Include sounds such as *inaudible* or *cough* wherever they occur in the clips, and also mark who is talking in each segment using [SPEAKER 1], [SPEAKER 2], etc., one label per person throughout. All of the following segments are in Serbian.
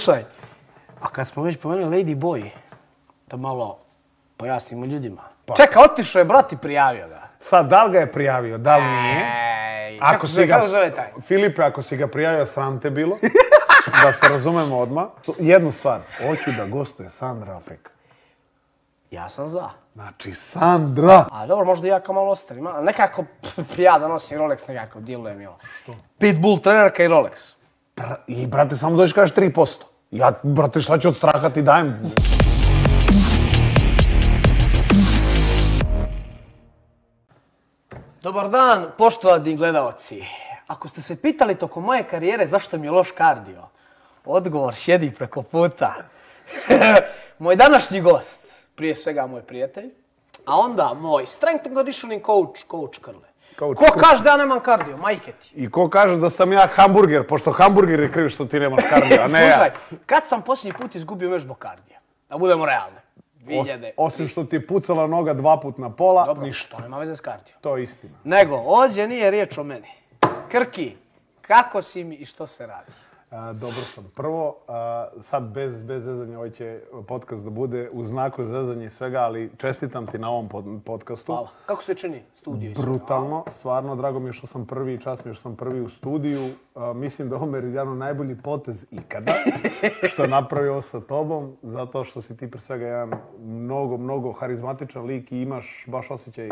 [SPEAKER 1] Slušaj, a kad smo već pomenuli Lady Boy, da malo pojasnimo ljudima. Čeka, otišao je brat i prijavio ga.
[SPEAKER 2] Sad, da li ga je prijavio, da li nije?
[SPEAKER 1] Ej,
[SPEAKER 2] Ako
[SPEAKER 1] kako
[SPEAKER 2] si
[SPEAKER 1] se
[SPEAKER 2] ga-
[SPEAKER 1] kako zove taj?
[SPEAKER 2] Filipe, ako si ga prijavio, sram
[SPEAKER 1] *laughs*
[SPEAKER 2] te bilo. da se razumemo odmah. Jednu stvar, hoću da gostuje Sandra Afrika.
[SPEAKER 1] Ja sam za.
[SPEAKER 2] Znači, Sandra!
[SPEAKER 1] A dobro, možda i ja kao malo ostalim, ali nekako *laughs* pff, ja da nosim Rolex nekako, djeluje mi ovo. Pitbull trenerka i Rolex.
[SPEAKER 2] Bra- I, brate, samo dođeš i kažeš 3%. Ja, brate, šta ću od straha ti dajem?
[SPEAKER 1] Dobar dan, poštovani gledaoci. Ako ste se pitali tokom moje karijere zašto mi je loš kardio, odgovor sjedi preko puta. *laughs* moj današnji gost, prije svega moj prijatelj, a onda moj strength and conditioning coach, coach Krle.
[SPEAKER 2] Coach
[SPEAKER 1] Ko
[SPEAKER 2] Krle.
[SPEAKER 1] kaže da ja nemam kardio, majke ti.
[SPEAKER 2] I ko kaže da sam ja hamburger, pošto hamburger je kriv što ti nemaš kardio, a ne
[SPEAKER 1] Slušaj,
[SPEAKER 2] ja.
[SPEAKER 1] kad sam posljednji put izgubio vežbu kardija? Da budemo realni. 2000.
[SPEAKER 2] Os- osim što ti je pucala noga dva put na pola,
[SPEAKER 1] Dobro,
[SPEAKER 2] ništa.
[SPEAKER 1] To nema veze s kardio.
[SPEAKER 2] To je istina.
[SPEAKER 1] Nego, ovdje nije riječ o meni. Krki, kako si mi i što se radi?
[SPEAKER 2] A, dobro sam. Prvo, a, sad bez, bez zezanja, ovaj će podcast da bude u znaku zezanja i svega, ali čestitam ti na ovom pod- podcastu.
[SPEAKER 1] Hvala. Kako se čini studio? i sve?
[SPEAKER 2] Brutalno, stvarno, drago mi je što sam prvi i čast mi je što sam prvi u studiju. A, mislim da je ovo Meridijanu najbolji potez
[SPEAKER 1] *laughs*
[SPEAKER 2] ikada što je napravio ovo sa tobom, zato što si ti pre svega jedan mnogo, mnogo harizmatičan lik i imaš baš osjećaj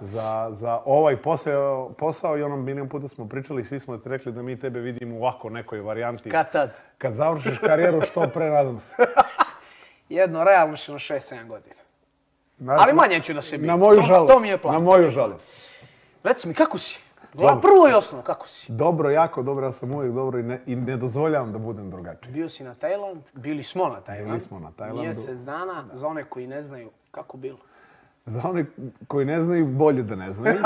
[SPEAKER 2] za, za ovaj posao, posao i onom milijon puta smo pričali, svi smo ti rekli da mi tebe vidimo u ovako nekoj varijanti.
[SPEAKER 1] Kad tad?
[SPEAKER 2] Kad završiš karijeru, što pre, nadam se.
[SPEAKER 1] Jedno, realno ću na 6-7 godina.
[SPEAKER 2] Na-
[SPEAKER 1] Ali manje ću da se bijem.
[SPEAKER 2] Na moju
[SPEAKER 1] To-
[SPEAKER 2] žalost.
[SPEAKER 1] to mi je plan.
[SPEAKER 2] Na moju žalost.
[SPEAKER 1] Reci mi, kako si? Gla-
[SPEAKER 2] Dobro.
[SPEAKER 1] Prvo i osnovno, kako si?
[SPEAKER 2] Dobro, jako dobro, ja sam uvijek dobro i ne, i ne dozvoljavam da budem drugačiji.
[SPEAKER 1] Bio si na Tajland, bili smo na Tajland.
[SPEAKER 2] Bili smo na Tajlandu.
[SPEAKER 1] Mjesec dana, za one koji ne znaju kako bilo.
[SPEAKER 2] Za one koji ne znaju, bolje da
[SPEAKER 1] *laughs*
[SPEAKER 2] ne znaju.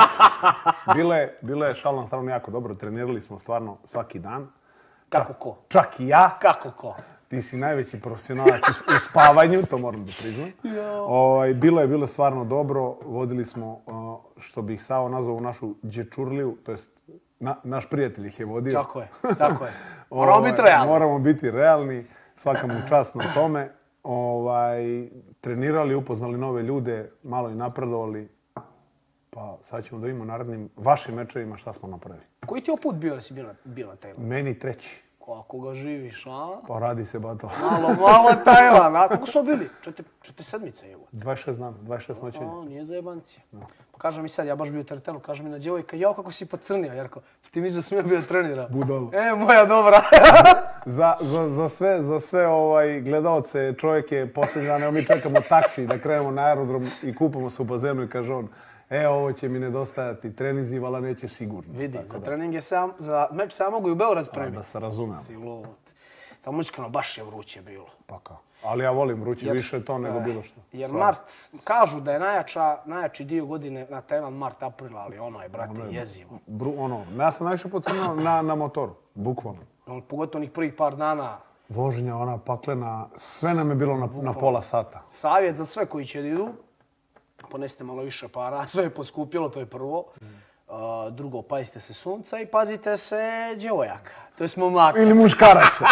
[SPEAKER 2] Bilo je, bilo je šalom stvarno jako dobro, trenirali smo stvarno svaki dan.
[SPEAKER 1] Kako ko?
[SPEAKER 2] Čak i ja,
[SPEAKER 1] Kako ko?
[SPEAKER 2] ti si najveći profesionalac u- u spavanju, to moram da priznam. Ovaj, bilo je bilo je stvarno dobro, vodili smo o, što bih Savo nazvao u našu dječurliju, to jest na- naš prijatelj ih je vodio.
[SPEAKER 1] Tako je, tako
[SPEAKER 2] *laughs*
[SPEAKER 1] je.
[SPEAKER 2] Ovaj,
[SPEAKER 1] Moramo biti realni.
[SPEAKER 2] Moramo biti realni, svaka mu čast na tome. Ovaj, trenirali, upoznali nove ljude, malo i napredovali. Pa sad ćemo da vidimo u narednim vašim mečevima šta smo napravili.
[SPEAKER 1] Koji ti je ovo put bio da si bio na, bio na Tajlandu?
[SPEAKER 2] Meni treći.
[SPEAKER 1] Kako ga živiš, a?
[SPEAKER 2] Pa radi se bato. *laughs*
[SPEAKER 1] Malo, malo Tajland, a? Kako smo bili? Čete, čete sedmice je
[SPEAKER 2] 26 dana, 26 noćenja.
[SPEAKER 1] A, nije za jebancije. Pa kaže mi sad, ja baš bio u teretanu, kaže mi na djevojka, jao kako si pocrnio, Jarko. Pa Ti mi za smio bio trenirao.
[SPEAKER 2] Budalo.
[SPEAKER 1] E, moja
[SPEAKER 2] *laughs*
[SPEAKER 1] dobra.
[SPEAKER 2] Za, za, za sve, za sve ovaj, gledalce, čovjek je posljednji dan, evo mi čekamo taksi da krenemo na aerodrom i kupamo se u bazenu i kaže on, e, ovo će mi nedostajati, trenizi, vala neće sigurno.
[SPEAKER 1] Vidi,
[SPEAKER 2] Tako
[SPEAKER 1] za
[SPEAKER 2] da,
[SPEAKER 1] trening je sam, za meč sam mogu i u Beograd spremiti.
[SPEAKER 2] da se razumemo.
[SPEAKER 1] Si lud. Samo iskreno, baš je vruće bilo. Eh,
[SPEAKER 2] Pa kao. Ali ja volim vruće, više to nego bilo što.
[SPEAKER 1] E, Jer
[SPEAKER 2] Stvarno.
[SPEAKER 1] mart, kažu da je najjača, najjači dio godine na Tajland mart, april, ali ono je, brate, jezivo.
[SPEAKER 2] Bru, ono, ja sam najviše pocrnao na, na motoru, bukvalno.
[SPEAKER 1] Ono, Pogotovo onih prvih par dana.
[SPEAKER 2] Vožnja, ona paklena, sve nam je bilo na, na pola sata.
[SPEAKER 1] Savjet za sve koji će da idu, ponesite malo više para, *laughs* sve je poskupilo, to je prvo. A, drugo, pazite se sunca i pazite se djevojaka. To smo mlaka.
[SPEAKER 2] Ili
[SPEAKER 1] *laughs*
[SPEAKER 2] muškaraca.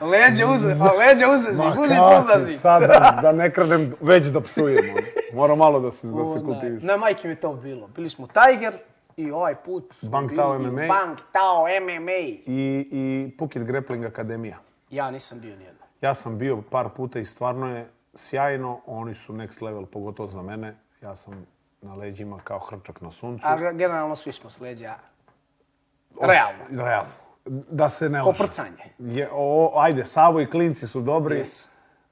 [SPEAKER 1] Leđe uze, a leđe uzezi,
[SPEAKER 2] Ma,
[SPEAKER 1] guzicu
[SPEAKER 2] kako
[SPEAKER 1] uzezi.
[SPEAKER 2] Sad da, da ne kradem, već da psujem. ono. Moram malo da se, da se
[SPEAKER 1] Onaj,
[SPEAKER 2] kultiviš.
[SPEAKER 1] Na majke mi je to bilo. Bili smo Tiger i ovaj put... smo
[SPEAKER 2] Bang
[SPEAKER 1] bili
[SPEAKER 2] Tao
[SPEAKER 1] u
[SPEAKER 2] MMA.
[SPEAKER 1] Bang Tao MMA.
[SPEAKER 2] I, I Pukit Grappling Akademija.
[SPEAKER 1] Ja nisam bio nijedno.
[SPEAKER 2] Ja sam bio par puta i stvarno je sjajno. Oni su next level, pogotovo za mene. Ja sam na leđima kao hrčak na suncu.
[SPEAKER 1] A generalno svi smo s leđa. Realno.
[SPEAKER 2] Realno. Da se ne lažem.
[SPEAKER 1] Koprcanje.
[SPEAKER 2] Je, o, ajde, Savo i Klinci su dobri.
[SPEAKER 1] Yes.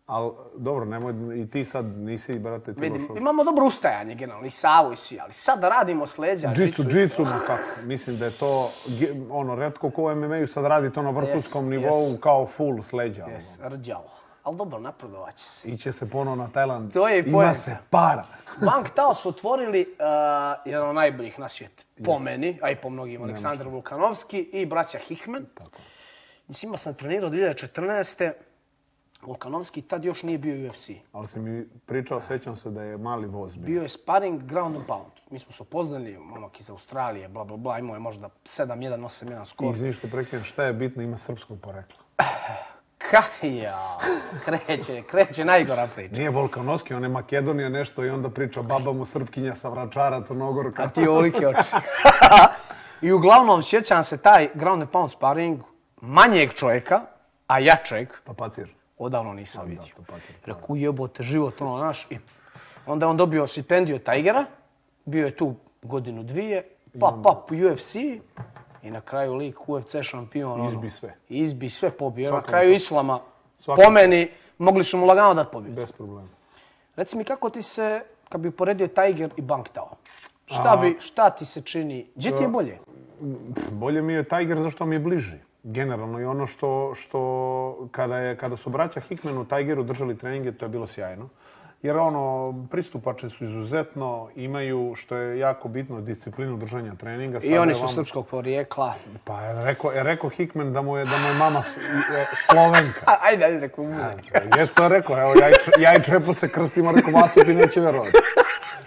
[SPEAKER 2] Ali, dobro, nemoj, i ti sad nisi, brate, ti
[SPEAKER 1] Vidim,
[SPEAKER 2] došao.
[SPEAKER 1] imamo dobro ustajanje generalno, i Savo i svi, ali sad da radimo s leđa,
[SPEAKER 2] Jitsu,
[SPEAKER 1] jitsu,
[SPEAKER 2] jitsu, ma kako. Mislim da je to, ge- ono, redko ko u MMA-u sad radi to na vrhunskom
[SPEAKER 1] Yes,
[SPEAKER 2] nivou
[SPEAKER 1] yes.
[SPEAKER 2] kao full s leđa. ono.
[SPEAKER 1] Jes, rđavo. Ali dobro, napredovat će se.
[SPEAKER 2] Iće se ponovno na Tajland.
[SPEAKER 1] To je i
[SPEAKER 2] Ima
[SPEAKER 1] poenta.
[SPEAKER 2] se para.
[SPEAKER 1] Bank Tao su otvorili uh, jedan od najboljih na svijetu. Po meni, a i po mnogim, Aleksandar Vulkanovski i braća Hickman. Tako. S njima sam trenirao 2014. Vulkanovski tad još nije bio UFC.
[SPEAKER 2] Ali si mi pričao, sjećam se da je mali voz bio.
[SPEAKER 1] Bio je sparring ground and pound. Mi smo se upoznali, momak iz Australije, bla, bla, bla. Imao je možda 7-1, 8-1 skor.
[SPEAKER 2] Izvini što prekinem, šta je bitno, ima srpskog porekla.
[SPEAKER 1] *laughs* Kakvija, kreće, kreće najgora priča.
[SPEAKER 2] Nije Volkanovski, on je Makedonija nešto i onda priča baba mu Srpkinja sa Vračara, Crnogorka.
[SPEAKER 1] A ti olike oči. I uglavnom sjećam se taj ground and pound sparring manjeg čovjeka, a ja čovjek,
[SPEAKER 2] Tapacir.
[SPEAKER 1] odavno nisam vidio.
[SPEAKER 2] to pamtim.
[SPEAKER 1] Reku jebote život, ono, znaš. I onda je on dobio stipendiju Tigera, bio je tu godinu dvije, pa pa UFC i na kraju lik UFC šampion. ono.
[SPEAKER 2] Izbi sve.
[SPEAKER 1] Izbi sve pobio. Na
[SPEAKER 2] Svaka
[SPEAKER 1] kraju Islama,
[SPEAKER 2] Svaka
[SPEAKER 1] po meni, mogli su mu lagano dat pobjedu.
[SPEAKER 2] Bez problema.
[SPEAKER 1] Reci mi kako ti se, kad bi uporedio Tiger i Bangtao, šta, bi, šta ti se čini? Gdje ti je bolje?
[SPEAKER 2] Bolje mi je Tiger zašto mi je bliži. Generalno i ono što, što kada, je, kada su braća Hickman u Tigeru držali treninge, to je bilo sjajno. Jer ono, pristupačni su izuzetno, imaju, što je jako bitno, disciplinu držanja treninga.
[SPEAKER 1] I
[SPEAKER 2] Sada
[SPEAKER 1] oni
[SPEAKER 2] je
[SPEAKER 1] su
[SPEAKER 2] vam-
[SPEAKER 1] srpskog
[SPEAKER 2] *laughs*
[SPEAKER 1] porijekla.
[SPEAKER 2] Pa je rekao, je rekao Hickman da mu je, da mu je mama s- je slovenka.
[SPEAKER 1] A, ajde, ajde, rekao mu.
[SPEAKER 2] Jes to rekao, evo, ja i, Č- ja i Čepo se krstimo, rekao, Vaso ti neće verovati.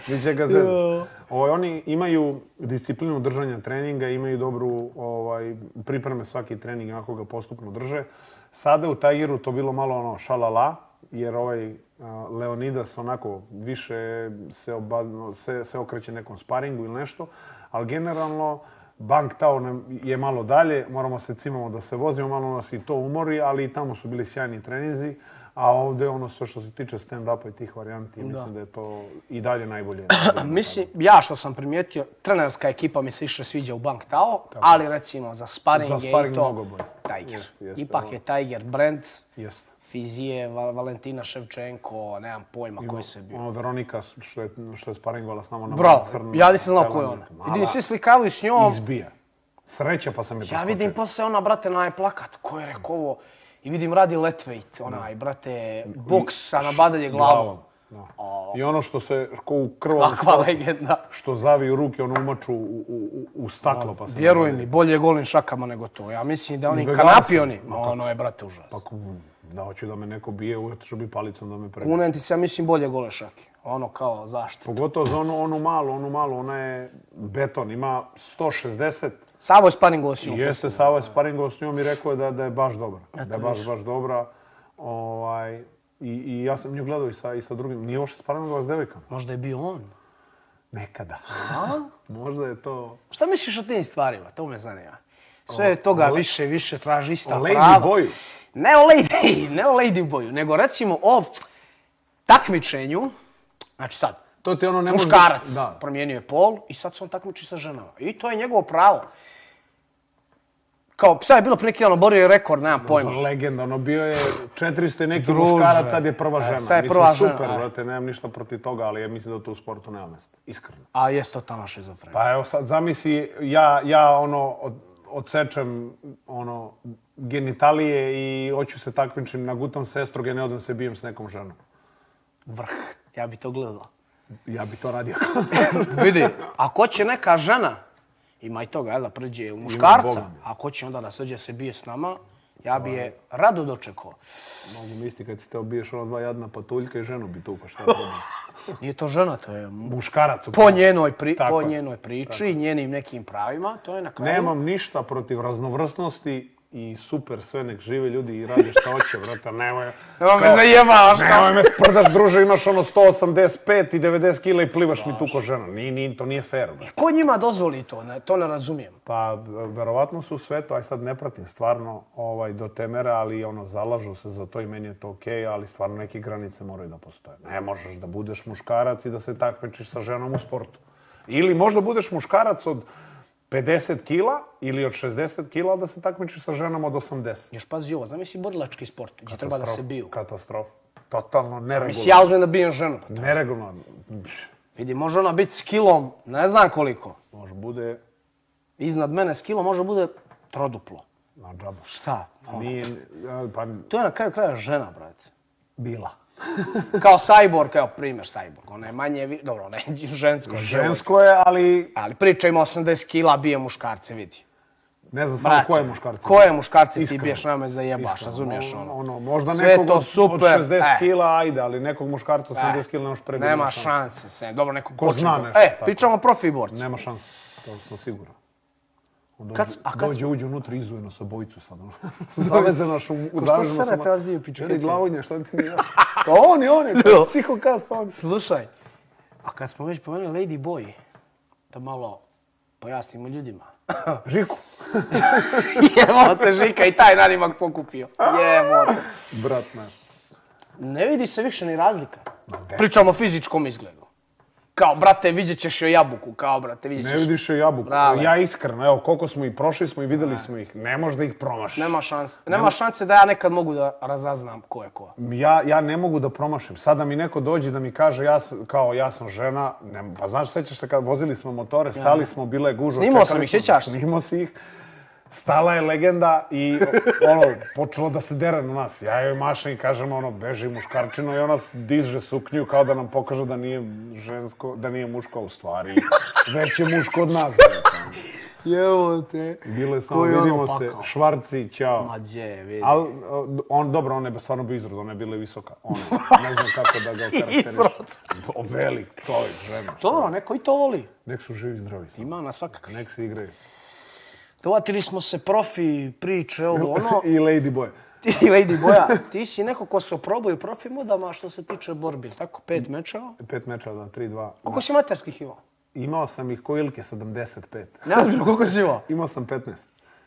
[SPEAKER 2] Biće ga zezat. Ovaj, oni imaju disciplinu držanja treninga, imaju dobru ovaj, pripreme svaki trening, ako ga postupno drže. Sada u Tigeru to bilo malo ono šalala, jer ovaj a, Leonidas onako više se, oba- se, se okreće nekom sparingu ili nešto, ali generalno Bank Tao nam je malo dalje, moramo se cimamo da se vozimo, malo nas i to umori, ali i tamo su bili sjajni trenizi, a ovdje ono sve što se tiče stand-upa i tih varijanti, mislim da je to i dalje najbolje.
[SPEAKER 1] Mislim, ja što sam primijetio, trenerska ekipa mi se više sviđa u Bangtao, ali recimo za sparing,
[SPEAKER 2] Za
[SPEAKER 1] je i
[SPEAKER 2] sparing
[SPEAKER 1] to
[SPEAKER 2] mnogo bolje.
[SPEAKER 1] Tiger.
[SPEAKER 2] Jeste, jeste,
[SPEAKER 1] Ipak
[SPEAKER 2] ono.
[SPEAKER 1] je Tiger brand,
[SPEAKER 2] Jeste.
[SPEAKER 1] Fizije, Va- Valentina Ševčenko, nemam pojma koji se bio.
[SPEAKER 2] Ono Veronika što je, što je sparingovala s nama na
[SPEAKER 1] Bravo,
[SPEAKER 2] crno.
[SPEAKER 1] ja nisam znao ko je ona. Vidim, svi slikavaju s njom.
[SPEAKER 2] Izbija. Sreća pa sam je
[SPEAKER 1] Ja
[SPEAKER 2] preskočio.
[SPEAKER 1] vidim posle ona, brate, na onaj plakat, ko je rekao ovo? I vidim radi letweight, onaj, brate, boksa na badalje glavom.
[SPEAKER 2] Da. I ono što se ko u krvom
[SPEAKER 1] Kakva legenda.
[SPEAKER 2] što zaviju ruke, ono umaču u, u, u- u staklo pa se...
[SPEAKER 1] Vjeruj mi, bolje je golim šakama nego to. Ja mislim da oni
[SPEAKER 2] Izbjegavao sam.
[SPEAKER 1] kanapi oni,
[SPEAKER 2] Ma
[SPEAKER 1] ono je, brate, užas.
[SPEAKER 2] Ako, da hoću da me neko bije, što bi palicom da me prebije.
[SPEAKER 1] Kunem ti se, ja mislim, bolje gole šake. Ono kao, zašto?
[SPEAKER 2] Pogotovo za onu, onu malu, onu malu, ona je beton, ima 160.
[SPEAKER 1] Savo je sparing osio.
[SPEAKER 2] Jeste, Sava je sparingo s njom i rekao je da, da je baš dobra. Da je baš, baš dobra. Ovaj, i, I ja sam nju gledao i sa, i sa drugim. Nije uopšte sparingo s devojkama.
[SPEAKER 1] Možda je bio on.
[SPEAKER 2] Nekada. *laughs* Možda je to...
[SPEAKER 1] Šta misliš o tim stvarima? To me zanima. Sve je toga više i više traži ista
[SPEAKER 2] O Lady
[SPEAKER 1] prava.
[SPEAKER 2] Boyu?
[SPEAKER 1] Ne o Lady, *laughs* ne o Lady Boyu, nego recimo o takmičenju, znači sad,
[SPEAKER 2] To ti ono ne može-
[SPEAKER 1] muškarac
[SPEAKER 2] Da.
[SPEAKER 1] promijenio je pol i sad se on takmiči sa ženama. I to je njegovo pravo. Kao, sad je bilo prije neki dan, oborio je rekord, nemam pojma.
[SPEAKER 2] Legenda, ono bio je 400 i neki
[SPEAKER 1] Druže.
[SPEAKER 2] muškarac, sad je prva žena.
[SPEAKER 1] sad je
[SPEAKER 2] Mislim,
[SPEAKER 1] prva žena,
[SPEAKER 2] Super,
[SPEAKER 1] aj.
[SPEAKER 2] brate, nemam ništa protiv toga, ali ja mislim da to u sportu nema mjesta. Iskreno.
[SPEAKER 1] A jest totalna šizofrenija.
[SPEAKER 2] Pa evo sad zamisli, ja, ja ono od, odsečem ono genitalije i hoću se takmičim, nagutam se estrogene, odem se bijem s nekom ženom.
[SPEAKER 1] Vrh. Ja bi to gledao.
[SPEAKER 2] Ja bi to radio. *laughs*
[SPEAKER 1] *coughs* Vidi, ako će neka žena, ima i toga, jel da priđe u muškarca,
[SPEAKER 2] Boga mi.
[SPEAKER 1] ako će onda da se dođe se bije s nama, ja bi je rado dočekao.
[SPEAKER 2] Mogu misliti kad si te obiješ ona dva jadna patuljka i ženu bi tukao, šta je problem?
[SPEAKER 1] Nije to žena, to je mu-
[SPEAKER 2] Muškarac.
[SPEAKER 1] po njenoj, pri,
[SPEAKER 2] Tako
[SPEAKER 1] po
[SPEAKER 2] je.
[SPEAKER 1] njenoj priči, njenim nekim pravima, to je na kraju.
[SPEAKER 2] Nemam ništa protiv raznovrsnosti i super sve nek žive ljudi i rade šta hoće, brate, nemoj.
[SPEAKER 1] Evo me
[SPEAKER 2] Kao-
[SPEAKER 1] zajebavaš, kao.
[SPEAKER 2] Nemoj me sprdaš, druže, imaš ono 185 i 90 kila i plivaš mi tu ko žena. Ni, ni, to nije fair, brate.
[SPEAKER 1] Ko njima dozvoli to? Ne, to ne razumijem.
[SPEAKER 2] Pa, v- verovatno su u svetu, aj sad ne pratim stvarno ovaj, do temera, ali ono, zalažu se za to i meni je to okej, ali stvarno neke granice moraju da postoje. Ne možeš da budeš muškarac i da se takmičiš sa ženom u sportu. Ili možda budeš muškarac od 50 kila ili od 60 kila, ali da se takmičiš sa ženom od 80.
[SPEAKER 1] Još pazi ovo, zamisli borilački sport, gdje treba da se
[SPEAKER 2] Katastrofa.
[SPEAKER 1] biju.
[SPEAKER 2] Katastrofa. Totalno
[SPEAKER 1] Mislim,
[SPEAKER 2] neregularno.
[SPEAKER 1] ja uzmem da bijem ženu. pa to-
[SPEAKER 2] Neregularno. Pš,
[SPEAKER 1] Vidi, može ona biti s kilom, ne znam koliko.
[SPEAKER 2] Može bude
[SPEAKER 1] Iznad mene s kilom može bude troduplo.
[SPEAKER 2] na džabu.
[SPEAKER 1] Šta? Ono-
[SPEAKER 2] Nije, pa,
[SPEAKER 1] To je na kraju kraja žena, brate.
[SPEAKER 2] bila.
[SPEAKER 1] Kao cyborg, evo primjer cyborg. Ona je manje, vi- dobro, ona je *laughs* žensko.
[SPEAKER 2] Žensko je, ali
[SPEAKER 1] Ali priča ima 80 kila, bije muškarce, vidi.
[SPEAKER 2] Ne znam samo
[SPEAKER 1] Brace,
[SPEAKER 2] koje muškarce.
[SPEAKER 1] koje muškarce ti biješ,
[SPEAKER 2] nama
[SPEAKER 1] nama je zajebaš, razumiješ ono.
[SPEAKER 2] ono možda
[SPEAKER 1] Sve
[SPEAKER 2] nekog
[SPEAKER 1] to
[SPEAKER 2] od, od
[SPEAKER 1] super,
[SPEAKER 2] 60
[SPEAKER 1] e.
[SPEAKER 2] kila, ajde, ali nekog muškarca od 70
[SPEAKER 1] E,
[SPEAKER 2] kila nemaš prebiti.
[SPEAKER 1] Nema šanse, se. Dobro, neko
[SPEAKER 2] Ko zna
[SPEAKER 1] početno-
[SPEAKER 2] nešto,
[SPEAKER 1] E,
[SPEAKER 2] tako.
[SPEAKER 1] pričamo o profi borcu.
[SPEAKER 2] Nema šanse, to sam siguran. On
[SPEAKER 1] Kad
[SPEAKER 2] dođe,
[SPEAKER 1] s- a kad
[SPEAKER 2] dođe,
[SPEAKER 1] smo-
[SPEAKER 2] uđe unutra, izuje nas obojicu sad. ono. *laughs* Zaveze nas u, u
[SPEAKER 1] Ko što
[SPEAKER 2] dažu.
[SPEAKER 1] sere te razviju pičke?
[SPEAKER 2] Jeli glavonje, šta ti nije? Pa on je,
[SPEAKER 1] *laughs*
[SPEAKER 2] on je, to je psihokast on.
[SPEAKER 1] Slušaj, a kad smo već pomenuli Lady Boy, da malo pojasnimo ljudima. *laughs*
[SPEAKER 2] Žiku.
[SPEAKER 1] Jebo te Žika i taj nadimak pokupio. Jebo te.
[SPEAKER 2] Brat, ne.
[SPEAKER 1] Ne vidi se više ni razlika.
[SPEAKER 2] Ma gde
[SPEAKER 1] Pričamo o fizičkom izgledu. Kao, brate, vidjet ćeš joj jabuku. Kao, brate, vidjet
[SPEAKER 2] Ne
[SPEAKER 1] ćeš...
[SPEAKER 2] vidiš joj jabuku.
[SPEAKER 1] Brale.
[SPEAKER 2] Ja iskreno, evo, koliko smo ih prošli smo i videli smo ih. Ne možeš da ih promašiš.
[SPEAKER 1] Nema šanse. Nema šanse da ja nekad mogu da razaznam ko je ko.
[SPEAKER 2] Ja, ja ne mogu da promašim. Sada mi neko dođe da mi kaže, ja, s- kao ja sam žena, ne, pa znaš, sećaš se kad vozili smo motore, stali smo, bila je gužva.
[SPEAKER 1] Snimao
[SPEAKER 2] čekali
[SPEAKER 1] sam ih,
[SPEAKER 2] smo-
[SPEAKER 1] sjećaš se?
[SPEAKER 2] Snimao si ih. Stala je legenda i ono, počelo da se dere na nas. Ja joj mašem i kažem ono, beži muškarčino i ona diže suknju kao da nam pokaže da nije žensko, da nije muško, a u stvari. Već je muško od
[SPEAKER 1] *laughs*
[SPEAKER 2] nas.
[SPEAKER 1] Jebo te.
[SPEAKER 2] Bilo je samo,
[SPEAKER 1] Koji je ono
[SPEAKER 2] vidimo se,
[SPEAKER 1] pakao.
[SPEAKER 2] švarci, ćao.
[SPEAKER 1] Ma gdje, vidi.
[SPEAKER 2] Ali, on, dobro, ona je stvarno bio izrod, ona je bila i visoka. Ona, ne znam kako
[SPEAKER 1] *laughs*
[SPEAKER 2] da ga karakterišem.
[SPEAKER 1] Izrod.
[SPEAKER 2] O, Velik čovjek, žena.
[SPEAKER 1] Dobro, neko i to voli.
[SPEAKER 2] Nek su živi i zdravi. samo.
[SPEAKER 1] Ima na svakakvi.
[SPEAKER 2] Nek se igraju.
[SPEAKER 1] Dovatili smo se profi, priče, *laughs* ovo, ono.
[SPEAKER 2] *laughs* I Lady Boy.
[SPEAKER 1] Ti, Lady Boja, *laughs* ti si neko ko se oprobao i u profi modama što se tiče borbi. Tako, pet mečeva.
[SPEAKER 2] Pet meča, da, tri, dva.
[SPEAKER 1] Koliko si materskih *laughs* imao?
[SPEAKER 2] Imao sam ih ko Ilke, 75.
[SPEAKER 1] Neozbiljno, koliko si imao?
[SPEAKER 2] Imao sam 15. 15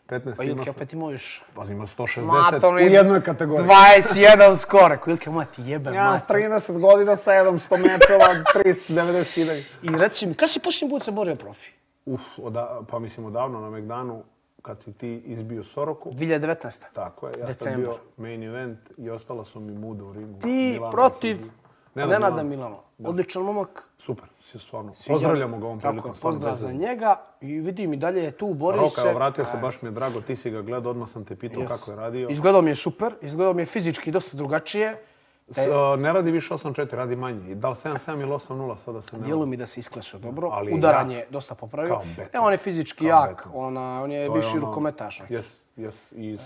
[SPEAKER 1] Pa
[SPEAKER 2] imao
[SPEAKER 1] Ilke
[SPEAKER 2] sam.
[SPEAKER 1] opet imao još.
[SPEAKER 2] Pa imao
[SPEAKER 1] Mato,
[SPEAKER 2] 160 u
[SPEAKER 1] mi-
[SPEAKER 2] jednoj kategoriji.
[SPEAKER 1] 21 skore. Ilke, moja ti jebe,
[SPEAKER 2] Ja
[SPEAKER 1] ja,
[SPEAKER 2] s 30 godina, 700 mečeva, 390 kidanja.
[SPEAKER 1] I reci mi, kada si posljednji put se borio profi?
[SPEAKER 2] Uf, oda, pa mislim odavno na Megdanu, kad si ti izbio Soroku,
[SPEAKER 1] 2019.
[SPEAKER 2] Tako je, ja sam
[SPEAKER 1] Decembar.
[SPEAKER 2] bio main event i ostala su mi muda u ringu.
[SPEAKER 1] Ti
[SPEAKER 2] Milanović
[SPEAKER 1] protiv
[SPEAKER 2] i- Nenad
[SPEAKER 1] Nenada
[SPEAKER 2] Milanović.
[SPEAKER 1] Milano. Odličan momak.
[SPEAKER 2] Super, si stvarno.
[SPEAKER 1] Sviđa-
[SPEAKER 2] Pozdravljamo ga ovom prilikom.
[SPEAKER 1] Tako je,
[SPEAKER 2] stvarno
[SPEAKER 1] pozdrav
[SPEAKER 2] bez
[SPEAKER 1] za
[SPEAKER 2] veze.
[SPEAKER 1] njega. I vidim i dalje je tu, bori
[SPEAKER 2] Roka,
[SPEAKER 1] se.
[SPEAKER 2] evo, vratio se, baš mi je drago, ti si ga gledao, odmah sam te pitao kako je radio.
[SPEAKER 1] Izgledao mi je super, izgledao mi je fizički dosta drugačije.
[SPEAKER 2] S- o, ne radi više 8-4, radi manje. I da li 7-7 ili 8-0, sada se ne...
[SPEAKER 1] Dijelo mi da se isklesao dobro,
[SPEAKER 2] Ali
[SPEAKER 1] udaranje
[SPEAKER 2] jak.
[SPEAKER 1] je dosta popravio.
[SPEAKER 2] Kao
[SPEAKER 1] E,
[SPEAKER 2] beton.
[SPEAKER 1] on je fizički
[SPEAKER 2] Kao
[SPEAKER 1] jak,
[SPEAKER 2] beton.
[SPEAKER 1] ona, on je
[SPEAKER 2] To je
[SPEAKER 1] bivši
[SPEAKER 2] ono-
[SPEAKER 1] rukometaš.
[SPEAKER 2] Jes, jes. I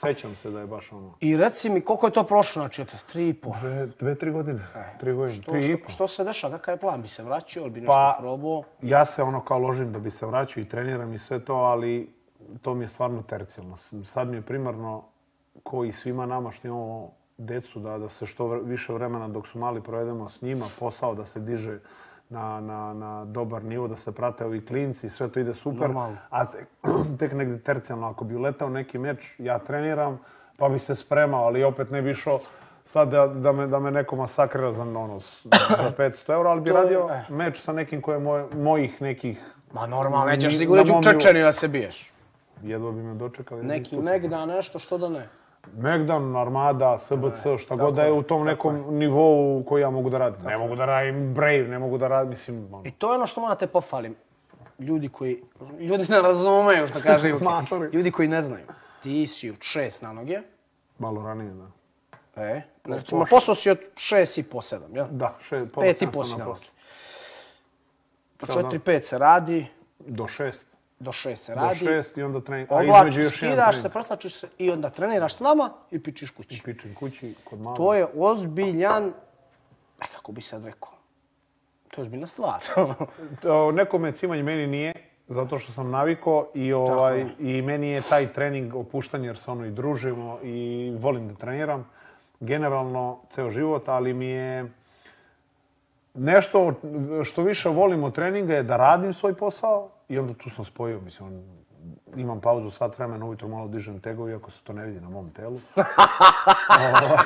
[SPEAKER 2] sećam se da je baš ono...
[SPEAKER 1] I reci mi, koliko je to prošlo, znači, eto, tri i po.
[SPEAKER 2] Dve, dve tri godine. Tri godine.
[SPEAKER 1] To
[SPEAKER 2] Tri i
[SPEAKER 1] E, što,
[SPEAKER 2] po.
[SPEAKER 1] što se dešava, kakav je plan? Bi se vraćao ili bi nešto
[SPEAKER 2] Pa-
[SPEAKER 1] probao?
[SPEAKER 2] ja se ono kao ložim da bi se vraćao i treniram i sve to, ali to mi je stvarno tercijalno. S- Sad mi je primarno ko i svima nama što imamo decu da, da se što vr- više vremena dok su mali provedemo s njima, posao da se diže na, na, na dobar nivo, da se prate ovi klinci, sve to ide super.
[SPEAKER 1] Normalno.
[SPEAKER 2] A tek, *clears throat* tek negdje tercijalno, ako bi uletao neki meč, ja treniram, pa bi se spremao, ali opet ne bi išao sad da, da, me, da me neko masakrira za, ono, s-
[SPEAKER 1] *clears throat*
[SPEAKER 2] za 500 eura, ali bi
[SPEAKER 1] To je-
[SPEAKER 2] radio
[SPEAKER 1] eh.
[SPEAKER 2] meč sa nekim koji je moj, mojih nekih,
[SPEAKER 1] Ma normalno, nećeš
[SPEAKER 2] Ni-
[SPEAKER 1] sigurno
[SPEAKER 2] na mom
[SPEAKER 1] u Čečeniju da se biješ.
[SPEAKER 2] jedva bi me dočekali.
[SPEAKER 1] Neki
[SPEAKER 2] Isto-
[SPEAKER 1] Megda, nešto, što da ne.
[SPEAKER 2] Megdan, Armada, SBC, šta god da je u tom nekom nivou koji ja mogu da radim. Ne mogu da radim Brave, ne mogu da radim, mislim, ono,
[SPEAKER 1] I to je ono što moram da te pohvalim. Ljudi koji, ljudi ne razumeju što
[SPEAKER 2] *laughs*
[SPEAKER 1] kaže Ilke.
[SPEAKER 2] Matori.
[SPEAKER 1] Ljudi koji ne znaju. Ti si od šest na noge.
[SPEAKER 2] malo ranije, da.
[SPEAKER 1] E, recimo, posao si od šest i po sedam, jel?
[SPEAKER 2] Da, še, pola
[SPEAKER 1] Pet i
[SPEAKER 2] sedam
[SPEAKER 1] po
[SPEAKER 2] sam
[SPEAKER 1] si
[SPEAKER 2] na
[SPEAKER 1] na
[SPEAKER 2] poslu.
[SPEAKER 1] Po
[SPEAKER 2] Ceo dan.
[SPEAKER 1] četiri, pet se radi,
[SPEAKER 2] Do šest.
[SPEAKER 1] do šest se
[SPEAKER 2] Do
[SPEAKER 1] radi.
[SPEAKER 2] šest i onda trening. A između
[SPEAKER 1] Oblačiš,
[SPEAKER 2] još jedan
[SPEAKER 1] skidaš
[SPEAKER 2] trening.
[SPEAKER 1] se, pa- prslačiš se i onda treniraš s nama i pičiš kući.
[SPEAKER 2] Pičem kući, kod mama.
[SPEAKER 1] To je ozbiljan, e, kako bi sad rekao, to je ozbiljna *laughs* stvar.
[SPEAKER 2] O, nekome je cimanje, meni nije, zato što sam naviko i, ovaj, i meni je taj trening opuštanje jer se ono i družimo i volim da treniram. Generalno, ceo život, ali mi je nešto što više volim od treninga je da radim svoj posao i onda tu sam spojio, mislim, on- imam pauzu sat vremena, ujutro malo dižem tegovi, iako se to ne vidi na mom telu. Ovaj,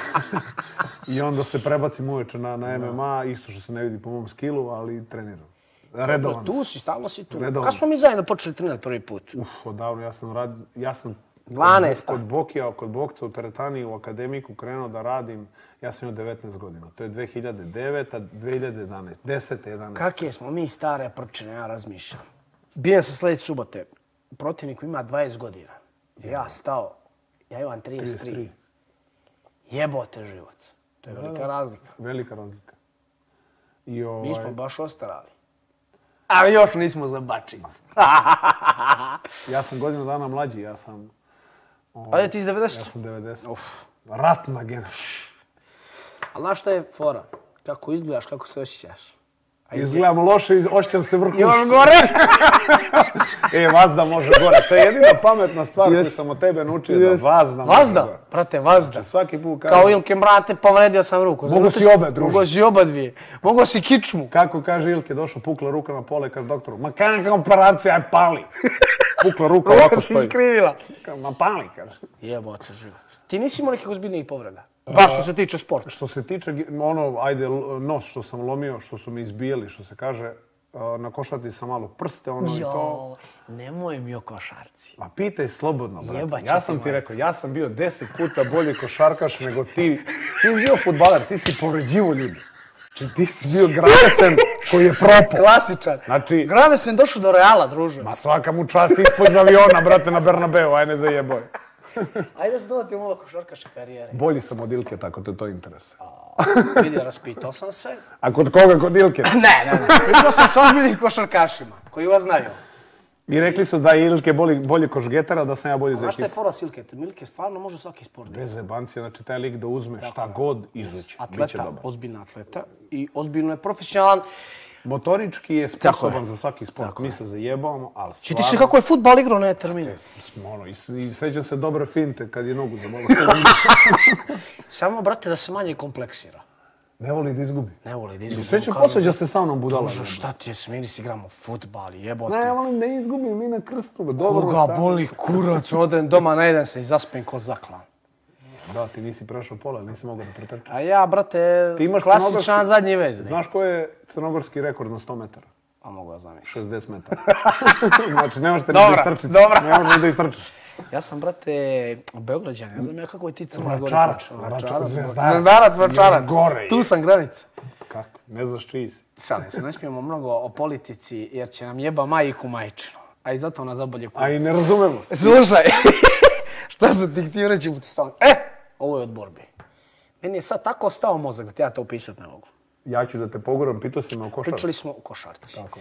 [SPEAKER 2] *laughs* I onda se prebacim uveče na, na MMA, isto što se ne vidi po mom skillu, ali treniram. Redovan
[SPEAKER 1] tu si, stalno si tu.
[SPEAKER 2] Redovan.
[SPEAKER 1] Kad smo mi zajedno počeli trenirati prvi put?
[SPEAKER 2] Uf, odavno, ja sam, rad, ja sam
[SPEAKER 1] 12.
[SPEAKER 2] kod Bokija, kod Bokca u teretani, u akademiku krenuo da radim. Ja sam imao 19 godina. To je 2009. 2011. 10. 11.
[SPEAKER 1] Kakve smo mi stare prčine, ja razmišljam. Bijem se sljedeće subote. Protivnik koji ima 20 godina. Ja stao, ja imam 33.
[SPEAKER 2] 33.
[SPEAKER 1] Jebote život. To je velika razlika.
[SPEAKER 2] Velika razlika. I ovaj,
[SPEAKER 1] Mi smo baš ostarali. Ali još nismo *laughs* zabačili.
[SPEAKER 2] ja sam godinu dana mlađi, ja sam, ovaj,
[SPEAKER 1] Ajde ti iz 90.
[SPEAKER 2] ja sam 90. Ratna generacija.
[SPEAKER 1] Ali znaš šta je fora? Kako izgledaš, kako se osjećaš.
[SPEAKER 2] Izgledam loše, iz- ošćam se vrhuški.
[SPEAKER 1] Još gore!
[SPEAKER 2] E, vazda može gore. To je jedina pametna stvar koju
[SPEAKER 3] Yes.
[SPEAKER 2] sam od tebe naučio,
[SPEAKER 3] Yes.
[SPEAKER 2] da vazda, može
[SPEAKER 1] Vazda,
[SPEAKER 2] gore.
[SPEAKER 1] brate, vazda.
[SPEAKER 2] Svaki put
[SPEAKER 1] Kao
[SPEAKER 2] kažem,
[SPEAKER 1] Ilke, brate, povredio sam ruku.
[SPEAKER 2] Mogo
[SPEAKER 1] Zato
[SPEAKER 2] si
[SPEAKER 1] što-
[SPEAKER 2] obe, druže.
[SPEAKER 1] Mogo si oba dvije. Mogo si kičmu.
[SPEAKER 2] kako kaže Ilke, došao, pukla ruka na pole, kaže doktoru, ma kakva operacija, aj pali. Pukla ruka Pa ovako
[SPEAKER 1] Mogo si
[SPEAKER 2] stoji.
[SPEAKER 1] iskrivila.
[SPEAKER 2] Ka- Ma pali, kaže.
[SPEAKER 1] Jebote život. Ti nisi imao nekih ozbiljnijih povreda? Baš što se tiče sporta.
[SPEAKER 2] Što se tiče, gi- ono, ajde, l- nos što sam lomio, što su me izbijeli, što se kaže, a, na košati sam malo prste, ono i to.
[SPEAKER 1] Jo, nemoj mi o košarci.
[SPEAKER 2] Ma pitaj slobodno, brate.
[SPEAKER 1] Jebaće
[SPEAKER 2] Ja
[SPEAKER 1] ti,
[SPEAKER 2] sam ti
[SPEAKER 1] moj.
[SPEAKER 2] rekao, ja sam bio deset puta bolji košarkaš nego ti. Ti si bio futbaler, ti si povređivo ljudi. Znači, ti si bio Gravesen koji je propao.
[SPEAKER 1] Klasičan.
[SPEAKER 2] Znači-
[SPEAKER 1] Grave sam došao do Reala, druže.
[SPEAKER 2] Ma svaka mu čast ispod aviona, brate, na Bernabeu, aj ne zajeboj.
[SPEAKER 1] Ajde da se dodatimo malo košarkaše *laughs* karijere.
[SPEAKER 2] Bolji sam od Ilke, tako te to interesuje.
[SPEAKER 1] Vidi, raspitao sam se.
[SPEAKER 2] A kod koga, kod Ilke?
[SPEAKER 1] Ne, ne, ne. Pričao sam sa ozbiljnim košarkašima, koji vas znaju.
[SPEAKER 2] I rekli su da je Ilke bolji, bolji košgetara, da sam ja bolji za
[SPEAKER 1] Znaš šta je
[SPEAKER 2] ekipu.
[SPEAKER 1] fora Silke? Milke stvarno može svaki sport.
[SPEAKER 2] Bez jebanci, znači taj lik da uzme šta god izući, bit će
[SPEAKER 1] Atleta,
[SPEAKER 2] dobar.
[SPEAKER 1] ozbiljna atleta i ozbiljno je profesionalan.
[SPEAKER 2] Motorički je sposoban
[SPEAKER 1] je.
[SPEAKER 2] za svaki sport, mi se zajebavamo, ali
[SPEAKER 1] Či ti se
[SPEAKER 2] stvarno-
[SPEAKER 1] kako je futbal igrao na termine.
[SPEAKER 2] Ono, i, s- i sećam se dobro finte kad je nogu zamalo. *laughs*
[SPEAKER 1] Samo, brate, da se manje kompleksira.
[SPEAKER 2] ne voli da izgubi.
[SPEAKER 1] Ne voli da
[SPEAKER 2] I
[SPEAKER 1] izgubi.
[SPEAKER 2] sećam,
[SPEAKER 1] Kažu,
[SPEAKER 2] posveđa se sa mnom budala.
[SPEAKER 1] "Bože, Šta ti je smiri si igramo futbal, jebote.
[SPEAKER 2] Ne, ja volim da izgubim, mi na krstu. me Dobro
[SPEAKER 1] Koga
[SPEAKER 2] stane.
[SPEAKER 1] boli kurac, odem doma, najedem se i zaspem ko zaklan.
[SPEAKER 2] Da, ti nisi prešao pola, nisi mogao da pretrčaš.
[SPEAKER 1] A ja, brate,
[SPEAKER 2] Ti imaš
[SPEAKER 1] klasičan
[SPEAKER 2] crnogorski-
[SPEAKER 1] zadnji veznik.
[SPEAKER 2] Znaš ko je crnogorski rekord na 100 metara?
[SPEAKER 1] A mogu ja zamisliti.
[SPEAKER 2] 60
[SPEAKER 1] *laughs*
[SPEAKER 2] metara. znači, ne možete ni da
[SPEAKER 1] Dobra,
[SPEAKER 2] istrčiš.
[SPEAKER 1] dobra.
[SPEAKER 2] Ne možete ni da istrčiš.
[SPEAKER 1] Ja sam, brate, Beograđan, ja znam ja kako je ti crna gora.
[SPEAKER 2] Vračarac,
[SPEAKER 1] počela.
[SPEAKER 2] vračarac, zvezdarac.
[SPEAKER 1] Zvezdarac, vračarac.
[SPEAKER 2] Još gore je.
[SPEAKER 1] Tu sam granica.
[SPEAKER 2] Kako? Ne znaš čiji si.
[SPEAKER 1] Sad, se ne smijemo mnogo o politici, jer će nam jeba majku majčinu. A i zato nas zabolje kurac.
[SPEAKER 2] A i ne razumemo se.
[SPEAKER 1] Slušaj, *laughs* šta sam ti htio reći u stalno? E, ovo je od borbe. Meni je sad tako stao mozak da ti ja to opisat ne mogu.
[SPEAKER 2] Ja ću da te poguram, pitao si me o košarku.
[SPEAKER 1] Pričali smo o košarci. Tako.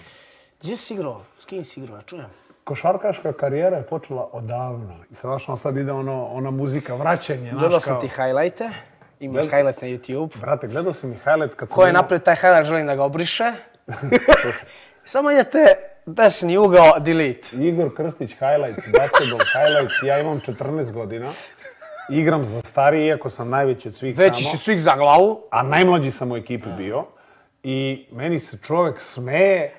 [SPEAKER 1] Gdje si igrao? S kim si igrao? Ja čujem.
[SPEAKER 2] Košarkaška karijera je počela odavno. I sad, znaš, ono sad ide ono, ona muzika, vraćanje. znaš,
[SPEAKER 1] Gledao sam
[SPEAKER 2] kao-
[SPEAKER 1] ti highlighte. Imaš highlight na YouTube.
[SPEAKER 2] Brate, gledao sam i highlight kad sam...
[SPEAKER 1] Ko je
[SPEAKER 2] imao-
[SPEAKER 1] napravio taj highlight, želim da ga
[SPEAKER 2] *laughs*
[SPEAKER 1] obriše. Samo idete desni ugao, delete.
[SPEAKER 2] Igor Krstić highlight, basketball highlight, ja imam 14 godina. Igram za starije, iako sam najveći od svih
[SPEAKER 1] Veći
[SPEAKER 2] tamo,
[SPEAKER 1] si cvik za glavu.
[SPEAKER 2] a najmlađi sam u ekipi bio. I meni se čovjek smeje,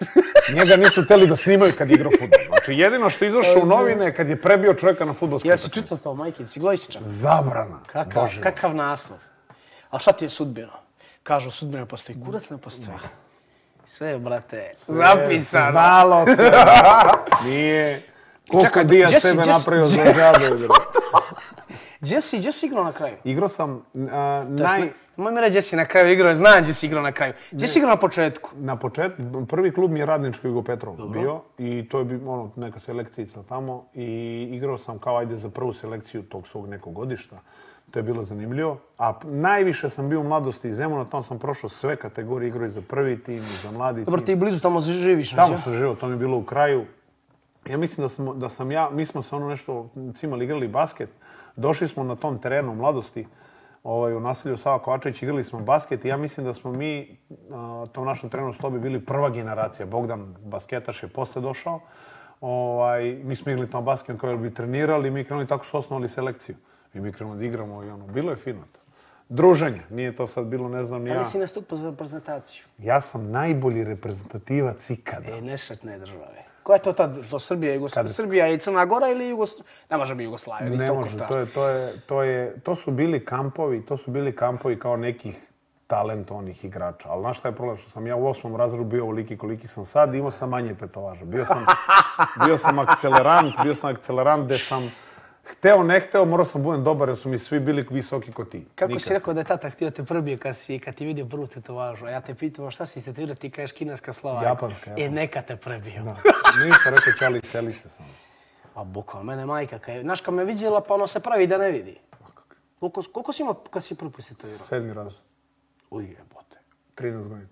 [SPEAKER 2] njega nisu htjeli da snimaju kad je igrao futbol. Znači jedino što je izašao u novine je kad je prebio čovjeka na futbolsku
[SPEAKER 1] Ja si čitao to, majkin, si glojsičan.
[SPEAKER 2] Zabrana.
[SPEAKER 1] Kakav,
[SPEAKER 2] Bože.
[SPEAKER 1] kakav naslov. A šta ti je sudbina? Kažu, sudbina postoji. Kurac ne postoji. Sve je, brate, zapisano.
[SPEAKER 2] Znalo se. Nije. Koliko
[SPEAKER 1] Čekaj,
[SPEAKER 2] Dija
[SPEAKER 1] gdje si-
[SPEAKER 2] sebe
[SPEAKER 1] gdje si-
[SPEAKER 2] napravio za
[SPEAKER 1] gdje-
[SPEAKER 2] žabe.
[SPEAKER 1] *laughs*
[SPEAKER 2] bre.
[SPEAKER 1] Gdje si, gdje si igrao na kraju?
[SPEAKER 2] Igrao sam a,
[SPEAKER 1] To jest,
[SPEAKER 2] naj...
[SPEAKER 1] ne- Nemoj mi reći gdje si na kraju igrao, znam gdje si igrao na kraju. Gdje si igrao na početku?
[SPEAKER 2] Na početku, prvi klub mi je Radnički Jugo Petrov bio i to je bi- ono, neka selekcija tamo i igrao sam kao ajde za prvu selekciju tog svog nekog godišta. To je bilo zanimljivo. A p- najviše sam bio u mladosti iz Zemuna, tamo sam prošao sve kategorije, igrao i za prvi tim, i za mladi
[SPEAKER 1] Dobro, ti
[SPEAKER 2] tim.
[SPEAKER 1] blizu tamo živiš,
[SPEAKER 2] Tamo
[SPEAKER 1] neće?
[SPEAKER 2] sam živio, to mi je bilo u kraju. Ja mislim da, smo, da sam ja, mi smo se ono nešto cimali, igrali basket. Došli smo na tom terenu u mladosti, ovaj, u naselju Sava Kovačević, igrali smo basket i ja mislim da smo mi, a, tom našem trenu Slobi, bili prva generacija. Bogdan basketaš je posle došao. Ovaj, mi smo igrali tamo basket, kao bi trenirali, mi krenuli, tako su osnovali selekciju. I mi krenuli da igramo i ono, bilo je fino to. Druženje, nije to sad bilo, ne znam ni
[SPEAKER 1] Pa Da
[SPEAKER 2] ja.
[SPEAKER 1] li si nastupao za prezentaciju?
[SPEAKER 2] Ja sam najbolji reprezentativac ikada.
[SPEAKER 1] E, nesretne države. Koja je to tad, što Srbija, Jugoslavija? Srbija i Crna Gora ili Jugoslavija? Ne može biti Jugoslavija, nisi
[SPEAKER 2] Ne
[SPEAKER 1] toliko
[SPEAKER 2] može,
[SPEAKER 1] star.
[SPEAKER 2] to, je, to, je, to, je, to su bili kampovi, to su bili kampovi kao nekih talentovnih igrača. Ali znaš šta je problem? Što sam ja u osmom razredu bio ovoliki koliki sam sad, imao sam manje tetovaža. Bio
[SPEAKER 1] *laughs*
[SPEAKER 2] sam, bio sam akcelerant, bio sam akcelerant gdje sam hteo, ne hteo, morao sam budem dobar jer su mi svi bili visoki ko ti.
[SPEAKER 1] Kako
[SPEAKER 2] Nikad.
[SPEAKER 1] si rekao da je tata htio te probije kad, si, kad ti vidio prvu tetovažu, a ja te pitam "A šta si istetovirao, ti kažeš kineska slova. E,
[SPEAKER 2] Japanska, japanska.
[SPEAKER 1] neka te prebio.
[SPEAKER 2] Da. *laughs* Ništa rekao, čali, seli se samo.
[SPEAKER 1] A bukvalno, mene majka, kad je, znaš, kad me vidjela, pa ono se pravi da ne vidi. Koliko, koliko si imao kad si prvi put istetovirao?
[SPEAKER 2] Sedmi razred,
[SPEAKER 1] Uj, jebote.
[SPEAKER 2] 13 godina.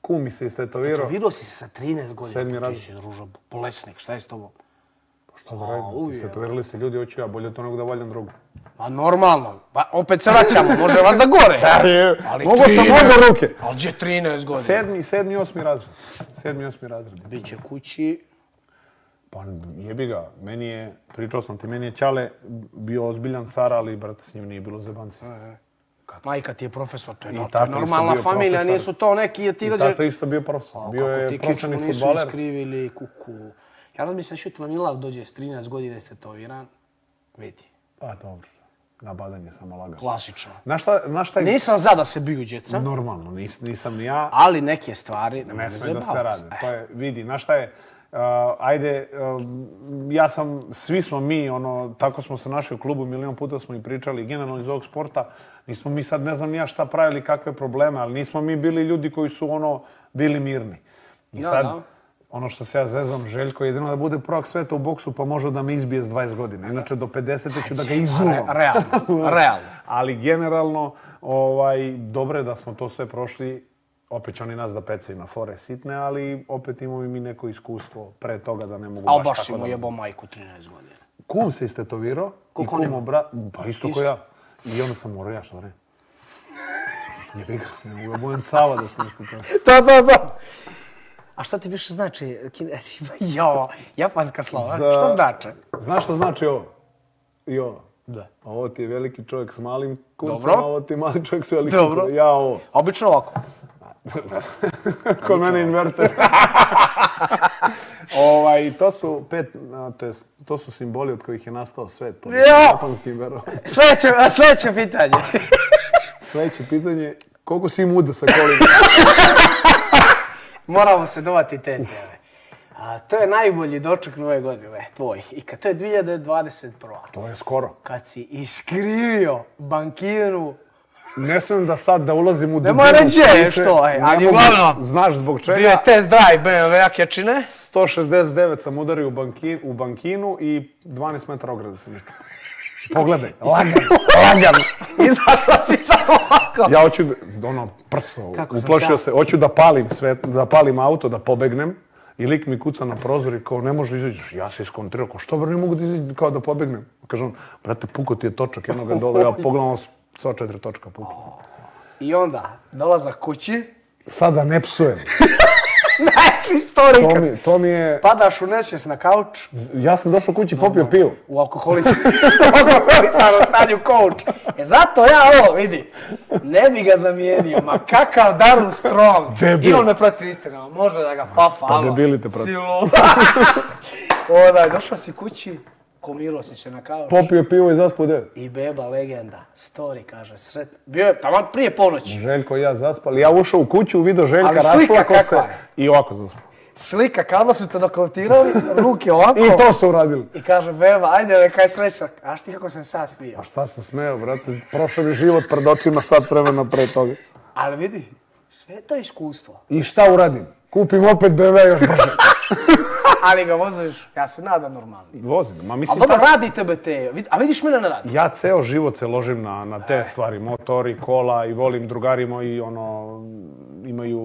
[SPEAKER 2] Kumi se istetovirao.
[SPEAKER 1] Tetovirao si se sa 13 godina.
[SPEAKER 2] Sedmi
[SPEAKER 1] Sedmi
[SPEAKER 2] razred.
[SPEAKER 1] Ti si ruža, bolesnik, šta je s tobom?
[SPEAKER 2] Što da radim?
[SPEAKER 1] uvijek.
[SPEAKER 2] Istetovirali se ljudi, hoću ja, bolje od onog da valjam drugu.
[SPEAKER 1] Pa normalno, pa opet se
[SPEAKER 2] *laughs*
[SPEAKER 1] vraćamo, može vas da gore.
[SPEAKER 2] Ali Mogu sam obe ruke.
[SPEAKER 1] Ali gdje 13 godina?
[SPEAKER 2] Sedmi, sedmi, osmi razred. Sedmi, osmi razred.
[SPEAKER 1] Biće kući,
[SPEAKER 2] Pa jebi ga, meni je, pričao sam ti, meni je Ćale bio ozbiljan car, ali brate s njim nije bilo zebanci.
[SPEAKER 1] E, majka ti je profesor, to je,
[SPEAKER 2] I
[SPEAKER 1] nor- to
[SPEAKER 2] tata
[SPEAKER 1] je
[SPEAKER 2] isto
[SPEAKER 1] normalna
[SPEAKER 2] bio
[SPEAKER 1] familija,
[SPEAKER 2] profesor.
[SPEAKER 1] nisu to neki, ti
[SPEAKER 2] I
[SPEAKER 1] dođe...
[SPEAKER 2] tata isto bio profesor. bio
[SPEAKER 1] Kako
[SPEAKER 2] je
[SPEAKER 1] ti
[SPEAKER 2] profesionalni
[SPEAKER 1] kičmu nisu
[SPEAKER 2] futbaler.
[SPEAKER 1] iskrivili, kuku. Ja razmišljam, Šutima Milav dođe s 13 godina i stetoviran, vidi,
[SPEAKER 2] Pa dobro, nabadanje samo lagano.
[SPEAKER 1] klasično.
[SPEAKER 2] Znaš šta, znaš šta je-
[SPEAKER 1] Nisam za da se biju djeca,
[SPEAKER 2] Normalno, nis, nisam ni ja,
[SPEAKER 1] ali neke stvari ne,
[SPEAKER 2] ne
[SPEAKER 1] mogu
[SPEAKER 2] sme da se
[SPEAKER 1] zajebavati.
[SPEAKER 2] rade.
[SPEAKER 1] E,
[SPEAKER 2] To je, vidi, znaš šta je, uh, ajde, um, ja sam, svi smo mi, ono, tako smo se našli u klubu, milion puta smo i pričali, generalno iz ovog sporta, nismo mi sad, ne znam ni ja šta pravili, kakve probleme, ali nismo mi bili ljudi koji su, ono, bili mirni. I
[SPEAKER 1] Da,
[SPEAKER 2] sad,
[SPEAKER 1] da.
[SPEAKER 2] ono što se ja zezam, Željko, jedino da bude prvak sveta u boksu, pa može da me izbije s 20 godina. Inače, do 50 ću da ga izuvam.
[SPEAKER 1] re- realno,
[SPEAKER 2] *laughs*
[SPEAKER 1] realno.
[SPEAKER 2] Ali generalno, ovaj, dobro je da smo to sve prošli. Opet će oni nas da pecaju na fore sitne, ali opet imamo i mi neko iskustvo pre toga da ne mogu
[SPEAKER 1] Ali baš si
[SPEAKER 2] tako
[SPEAKER 1] mu
[SPEAKER 2] da-
[SPEAKER 1] jebo majku 13 godina.
[SPEAKER 2] Kum se istetovirao i
[SPEAKER 1] Koliko on ima?
[SPEAKER 2] kum obra... Pa isto
[SPEAKER 1] Isto.
[SPEAKER 2] ko ja. I onda sam morao ja šta da radim. *laughs* Jebi ga, ne mogu da budem cava *laughs* da sam istetovirao.
[SPEAKER 1] Da, da, da. A šta ti više znači? Kine... Jo, japanska slova.
[SPEAKER 2] Za-
[SPEAKER 1] Šta znači?
[SPEAKER 2] Znaš šta znači ovo? I ovo. Da. Pa Ovo ti je veliki čovjek s malim kuncem,
[SPEAKER 1] Dobro.
[SPEAKER 2] a ovo ti je mali čovjek s velikim
[SPEAKER 1] Dobro.
[SPEAKER 2] kuncem. Ja ovo.
[SPEAKER 1] Obično ovako.
[SPEAKER 2] Kod mene inverter. *laughs* ovaj, to su pet, a, to, jest, to su simboli od kojih je nastao svet. Po nekim
[SPEAKER 1] Jo!
[SPEAKER 2] japanskim verovanjima.
[SPEAKER 1] Sljedeće, sljedeće pitanje. *laughs*
[SPEAKER 2] Sljedeće pitanje, koliko si muda sa kolima?
[SPEAKER 1] Moramo se dovati te teme. A, to je najbolji doček nove godine, tvoj. I kad to je 2021.
[SPEAKER 2] to je skoro.
[SPEAKER 1] Kad si iskrivio bankiru,
[SPEAKER 2] Ne smijem da sad da ulazim u
[SPEAKER 1] Nemoj reći je, što, ej,
[SPEAKER 2] Ne
[SPEAKER 1] ali
[SPEAKER 2] mogu,
[SPEAKER 1] uglavnom.
[SPEAKER 2] Znaš zbog
[SPEAKER 1] bio
[SPEAKER 2] čega?
[SPEAKER 1] je test drive BMW jakjačine.
[SPEAKER 2] 169 sam udario u, banki, u bankinu i 12 metara ograde sam iščupao. Pogledaj, lagano, lagano.
[SPEAKER 1] Izašla si samo ovako.
[SPEAKER 2] Ja hoću, da- ono, prso,
[SPEAKER 1] Pa- Kako sam
[SPEAKER 2] uplošio
[SPEAKER 1] sad?
[SPEAKER 2] se, hoću da palim sve, da palim auto, da pobegnem. I lik mi kuca na prozor i kao, ne može izađeš. Ja se iskontrirao, kao, što bre, ne mogu da izađem, kao da pobegnem. Kaže on, brate, puko ti je
[SPEAKER 1] *laughs*
[SPEAKER 2] točak jednoga dole, ja pogledam, ono, sva četiri točka puka.
[SPEAKER 1] I onda, dolazak kući,
[SPEAKER 2] Sada ne
[SPEAKER 1] *laughs*
[SPEAKER 2] psujem.
[SPEAKER 1] najči
[SPEAKER 2] To
[SPEAKER 1] storika.
[SPEAKER 2] mi, to mi je,
[SPEAKER 1] Padaš u nesvijest na kauč,
[SPEAKER 2] ja sam došao kući, popio pivo.
[SPEAKER 1] *laughs* u alkoholisanom alkoholisano stanju coach. E zato ja ovo, vidi, ne bi ga zamijenio, ma kakav Darun Strong.
[SPEAKER 2] Debil.
[SPEAKER 1] I on me protiv istinama, može da ga fafa,
[SPEAKER 2] Pa
[SPEAKER 1] ama,
[SPEAKER 2] debili te protiv.
[SPEAKER 1] Silu. *laughs* Odaj, došao si kući, komirao si se na kauč.
[SPEAKER 2] Popio pivo i zaspao u devet.
[SPEAKER 1] I beba legenda, story kaže, sret... Bio je taman prije ponoći.
[SPEAKER 2] Željko i ja zaspali. Ja ušao u kuću, vidio Željka,
[SPEAKER 1] Ali slika
[SPEAKER 2] rasplako se.
[SPEAKER 1] kakva je?
[SPEAKER 2] I ovako zaspao.
[SPEAKER 1] Slika kada su te dokautirali, ruke ovako.
[SPEAKER 2] *laughs* I to su uradili.
[SPEAKER 1] I kaže, beba, ajde, neka je sreća. A ti kako sam sad smio.
[SPEAKER 2] A šta se smeo, brate? Prošao mi život pred očima sat vremena pre toga.
[SPEAKER 1] Ali vidi, sve je to iskustvo.
[SPEAKER 2] I šta uradim? Kupim opet BMW još brže.
[SPEAKER 1] Ali ga voziš, ja se nadam normalno.
[SPEAKER 2] *laughs* Vozim, ma
[SPEAKER 1] Ali
[SPEAKER 2] mislim...
[SPEAKER 1] dobro, radi tebe te, vid- a vidiš mene ne radi.
[SPEAKER 2] Ja ceo život se ložim na, na te stvari, motori, kola i volim drugari moji, ono, imaju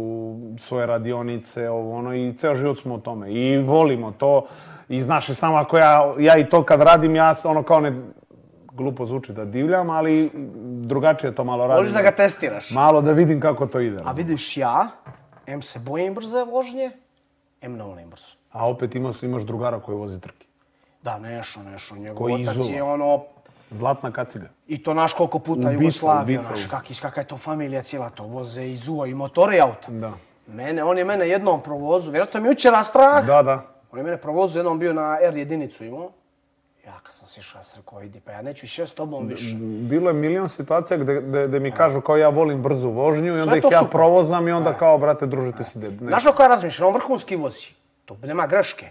[SPEAKER 2] svoje radionice, ovo, ono, i ceo život smo u tome. I volimo to. I znaš i samo ako ja, ja i to kad radim, ja s- ono kao ne, glupo zvuči da divljam, ali drugačije to malo radim.
[SPEAKER 1] Voliš da ga testiraš.
[SPEAKER 2] Malo da vidim kako to ide.
[SPEAKER 1] A vidiš ja, em se bojim brze vožnje, em ne volim brzo.
[SPEAKER 2] A opet imaš, imaš drugara koji vozi trke.
[SPEAKER 1] Da, Nešo, Nešo, njegov
[SPEAKER 2] Koji
[SPEAKER 1] otac
[SPEAKER 2] izuva.
[SPEAKER 1] je ono,
[SPEAKER 2] Zlatna kaciga.
[SPEAKER 1] i to naš koliko puta
[SPEAKER 2] Ubica,
[SPEAKER 1] Jugoslavija,
[SPEAKER 2] ubica,
[SPEAKER 1] naš,
[SPEAKER 2] ubica.
[SPEAKER 1] kak, kaka je to familija cijela, to voze i zuva i motore i auta.
[SPEAKER 2] Da.
[SPEAKER 1] Mene, on je mene jednom provozu, vjerojatno mi je jučer strah,
[SPEAKER 2] Da, da.
[SPEAKER 1] On je mene provozio, jednom bio na R jedinicu imao. Ja kad sam sišao, ja sam rekao, vidi, pa ja neću še s tobom više.
[SPEAKER 2] Bilo je milion situacija gde, gde, gde mi kažu kao ja volim brzu vožnju i onda
[SPEAKER 1] Sve
[SPEAKER 2] ih
[SPEAKER 1] to
[SPEAKER 2] ja
[SPEAKER 1] super.
[SPEAKER 2] provozam i onda kao, brate, družite se. De, ne.
[SPEAKER 1] Znaš kako ja razmišljam, on vrhunski vozi. To nema greške.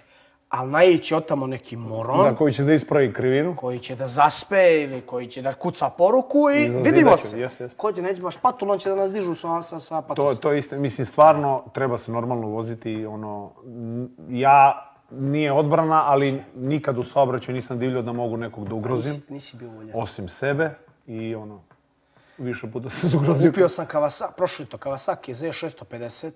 [SPEAKER 1] Ali naići otamo neki moron
[SPEAKER 2] Da, koji će da ispravi krivinu.
[SPEAKER 1] koji će da zaspe ili koji će da kuca poruku i
[SPEAKER 2] Izazidat
[SPEAKER 1] vidimo
[SPEAKER 2] će,
[SPEAKER 1] se.
[SPEAKER 2] jes, jes.
[SPEAKER 1] Ko će, neće baš patul, on će da nas dižu sa, sa, sa
[SPEAKER 2] To,
[SPEAKER 1] patul.
[SPEAKER 2] to je isto, mislim, stvarno treba se normalno voziti i ono, n- ja nije odbrana, ali nikad u saobraćaju nisam divljao da mogu nekog da ugrozim,
[SPEAKER 1] Nisi, nisi bio voljen.
[SPEAKER 2] osim sebe i ono, više puta sam se ugrozio.
[SPEAKER 1] Kupio sam Kawasaki, prošli to, Kawasaki Z650,